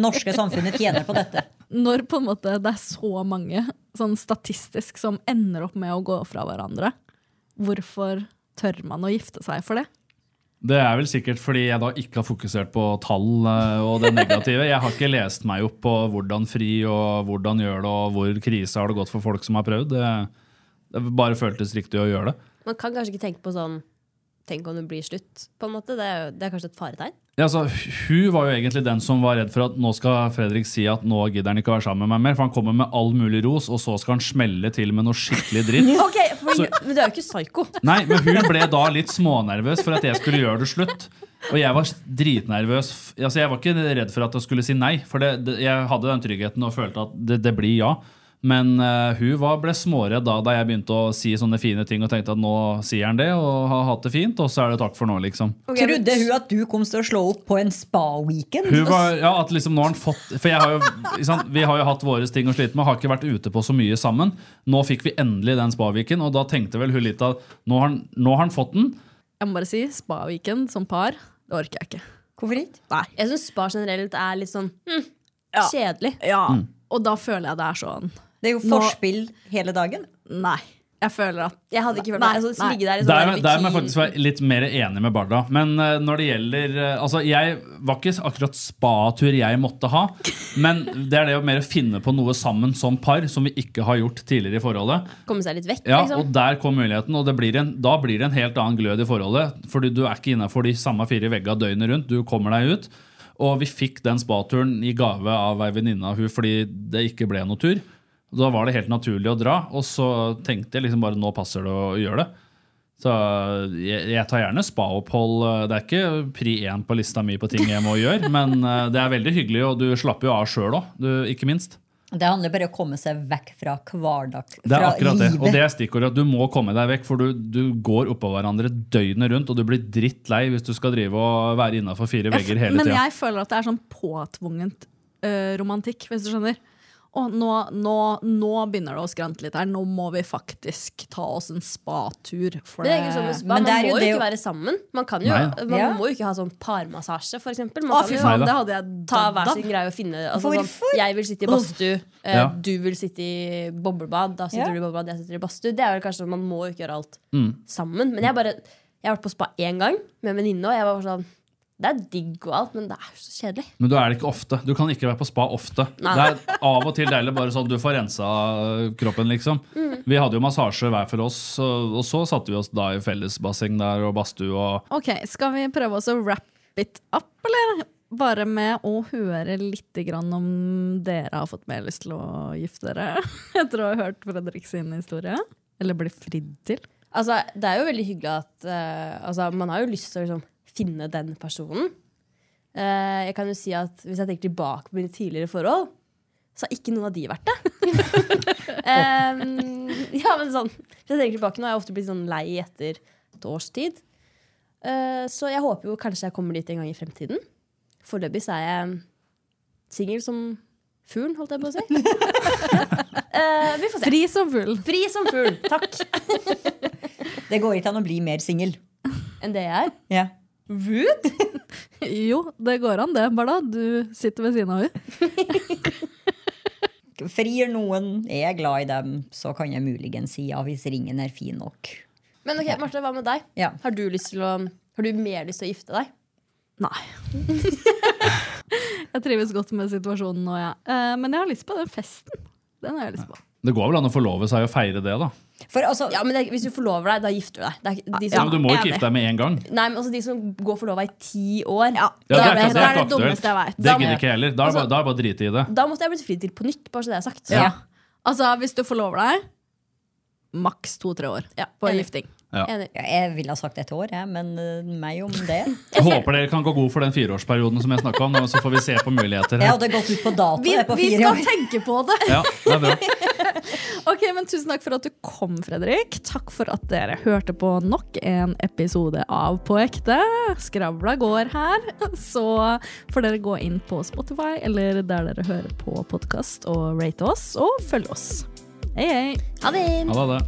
Speaker 3: Norske samfunnet tjener på dette.
Speaker 2: Når på en måte det er så mange sånn statistisk som ender opp med å gå fra hverandre, hvorfor tør man å gifte seg for det?
Speaker 6: Det er vel sikkert fordi jeg da ikke har fokusert på tall eh, og det negative. Jeg har ikke lest meg opp på hvordan fri og hvordan gjør det, og hvor krise har det gått for folk som har prøvd. Det, det bare føltes riktig å gjøre det.
Speaker 4: Man kan kanskje ikke tenke på sånn Tenk om det blir slutt, på en måte. Det er, jo- det er kanskje et faretegn.
Speaker 6: Ja, altså, hun var jo egentlig den som var redd for at nå skal Fredrik si at nå gidder han ikke å være sammen med meg mer, for han kommer med all mulig ros, og så skal han smelle til med noe skikkelig dritt.
Speaker 4: Ok, for,
Speaker 6: Så-
Speaker 4: Men du er jo ikke psyko.
Speaker 6: Nei, men hun ble da litt smånervøs for at jeg skulle gjøre det slutt. Og jeg var dritnervøs. F- Altså, jeg var ikke redd for at jeg skulle si nei, for det, det, jeg hadde den tryggheten og følte at det, det blir ja. Men eh, hun var, ble småredd da, da jeg begynte å si sånne fine ting og tenkte at nå sier han det og har hatt det fint, og så er det takk for nå, liksom.
Speaker 3: Trodde hun at du kom til å slå opp på en spa-weekend? Altså,
Speaker 6: Hun var, ja, at liksom nå har han fått For jeg har jo, ikke sant, Vi har jo hatt våre ting å slite med, har ikke vært ute på så mye sammen. Nå fikk vi endelig den spaviken, og da tenkte vel hun litt at nå har, han- nå har han fått den.
Speaker 2: Jeg må bare si Spaviken som par, det orker jeg ikke.
Speaker 3: Hvorfor ikke?
Speaker 2: Nei.
Speaker 4: Jeg syns spa generelt er litt sånn hm,
Speaker 2: Ja.
Speaker 4: kjedelig.
Speaker 2: Ja, og da føler jeg det er sånn
Speaker 3: Det er jo
Speaker 2: Nå-
Speaker 3: forspill hele dagen.
Speaker 2: Nei. Jeg føler at
Speaker 4: Jeg hadde ikke følt
Speaker 2: Nei,
Speaker 4: meg altså,
Speaker 2: nei.
Speaker 4: ligge der i sånn
Speaker 6: Der,
Speaker 4: der
Speaker 6: der må jeg
Speaker 4: bikini-
Speaker 6: faktisk være litt mer enig med Barda. Men eh, når det gjelder eh, Altså, jeg var ikke akkurat spatur jeg måtte ha, men det er det å mer finne på noe sammen som par som vi ikke har gjort tidligere i forholdet.
Speaker 4: Komme seg litt vekk,
Speaker 6: Ja,
Speaker 4: liksom.
Speaker 6: og der kom muligheten, og det blir en, da blir det en helt annen glød i forholdet. Fordi du er ikke innafor de samme fire veggene døgnet rundt. Du kommer deg ut. Og vi fikk den spaturen i gave av ei venninne av hun fordi det ikke ble noe tur. Da var det helt naturlig å dra, og så tenkte jeg liksom bare nå passer det å gjøre det. Så jeg, jeg tar gjerne spaopphold. Det er ikke pri én på lista mi på ting jeg må gjøre, men eh, det er veldig hyggelig, og du slapper jo av sjøl òg, ikke minst.
Speaker 3: Det handler bare om å komme seg vekk fra hverdag.
Speaker 6: Det er
Speaker 3: fra
Speaker 6: akkurat det.
Speaker 3: livet.
Speaker 6: Og det er stikkordet. at Du må komme deg vekk, for du, du går oppå hverandre døgnet rundt, og du blir drittlei hvis du skal drive og være innafor fire
Speaker 2: Jeg f-
Speaker 6: vegger hele
Speaker 2: Men
Speaker 6: tida.
Speaker 2: jeg føler at det er sånn påtvungent eh, romantikk, øh, hvis du skjønner. Og nå, nå, nå begynner det å skrante litt her. Nå må vi faktisk ta oss en spatur. For
Speaker 4: Det er ikke sånn med spa.
Speaker 2: Men
Speaker 4: Man
Speaker 2: det er
Speaker 4: må jo
Speaker 2: det
Speaker 4: ikke være sammen. Man, kan jo,
Speaker 2: Nei.
Speaker 4: man
Speaker 2: Ja.
Speaker 4: må jo ikke ha sånn parmassasje, for eksempel. Man
Speaker 2: Å,
Speaker 4: kan
Speaker 2: fy
Speaker 4: jo
Speaker 2: faen, det hadde jeg
Speaker 4: ta
Speaker 2: dødd
Speaker 4: hver
Speaker 2: av.
Speaker 4: sin greie og finne altså, sånn,
Speaker 2: Hvorfor?
Speaker 4: Jeg vil sitte i badstue, eh,
Speaker 6: Ja.
Speaker 4: du vil sitte i boblebad, da sitter
Speaker 6: Ja.
Speaker 4: du i boblebad, jeg sitter i badstue. Det er vel kanskje sånn, Man må jo ikke gjøre alt
Speaker 6: Mm.
Speaker 4: sammen. Men jeg, bare, jeg har vært på spa én gang med en venninne, og jeg var bare sånn Det er digg og alt, men det er så kjedelig.
Speaker 6: Men du er det ikke ofte. Du kan ikke være på spa ofte.
Speaker 4: Nei.
Speaker 6: Det er av og til deilig bare sånn du får rensa øh, kroppen, liksom.
Speaker 2: Mm.
Speaker 6: Vi hadde jo massasje hver for oss, og og så satte vi oss da i fellesbasseng der og badstue og
Speaker 2: Ok, skal vi prøve oss å wrap it up, eller? Bare med å høre litt grann om dere har fått mer lyst til å gifte dere etter å ha hørt Fredrik sin historie. Eller bli fridd til.
Speaker 4: Altså, det er jo veldig hyggelig at eh, altså, Man har jo lyst til å liksom, finne den personen. Eh, jeg kan jo si at Hvis jeg tenker tilbake på mine tidligere forhold, så har ikke noen av de vært det. Eh, ja, men sånn Hvis jeg tenker tilbake Nå har jeg ofte blitt sånn lei etter et års tid. Eh, så jeg håper jo kanskje jeg kommer dit en gang i fremtiden. Foreløpig så er jeg singel som fuglen, holdt jeg på å si. Eh, vi får se.
Speaker 2: Fri som fugl.
Speaker 4: Fri som fugl. Takk.
Speaker 3: Det går ikke an å bli mer singel.
Speaker 4: Enn det jeg er?
Speaker 3: Ja.
Speaker 4: Rude?
Speaker 2: jo, det går an det, Barda. Du sitter ved siden av henne.
Speaker 3: Frir noen, er jeg glad i dem, så kan jeg muligens si ja hvis ringen er fin nok.
Speaker 4: Men ok, Marte, hva med deg? Har, du lyst til å, har du mer lyst til å gifte deg?
Speaker 2: Jeg trives godt med situasjonen nå, jeg. Eh, Men jeg har lyst på den festen. Den har jeg lyst på.
Speaker 6: Det går vel an å forlove seg og feire det, da.
Speaker 3: altså,
Speaker 4: ja, men det, Hvis du forlover deg, da gifter du deg. Det er ikke- de
Speaker 6: Altså- Ja,
Speaker 4: som-
Speaker 6: men du må jo ikke
Speaker 4: Enig.
Speaker 6: gifte deg med en gang.
Speaker 4: Nei, men altså De som går forlova i ti år,
Speaker 6: Ja,
Speaker 4: da
Speaker 6: det, er ikke,
Speaker 4: vet-
Speaker 6: det
Speaker 4: da
Speaker 6: er ikke aktuelt. Det
Speaker 4: Da-
Speaker 6: gidder ikke jeg heller. Da er det bare- da er det bare å drite i det.
Speaker 4: Da måtte jeg blitt fridd til på nytt, bare så det er sagt.
Speaker 6: Ja.
Speaker 2: Altså, hvis du forlover deg, maks to-tre år på
Speaker 3: enig.
Speaker 2: gifting.
Speaker 6: Ja.
Speaker 3: Ja, jeg ville ha sagt et år, jeg, men eh, meg om det.
Speaker 6: Jeg håper dere kan gå god for den fireårsperioden som jeg snakka om. Så får vi se på muligheter.
Speaker 3: Jeg
Speaker 6: her.
Speaker 3: hadde gått ut på dato
Speaker 2: Vi,
Speaker 3: jeg, på
Speaker 2: vi
Speaker 3: fire
Speaker 2: skal
Speaker 3: år.
Speaker 2: tenke på det!
Speaker 6: Ja, det er bra.
Speaker 2: Ok, men Tusen takk for at du kom, Fredrik. Takk for at dere hørte på nok en episode av På ekte. Skravla går her. Så får dere gå inn på Spotify eller der dere hører på podkast, og rate oss og følge oss. Hei, hei.
Speaker 4: Ha det.
Speaker 6: Ha det.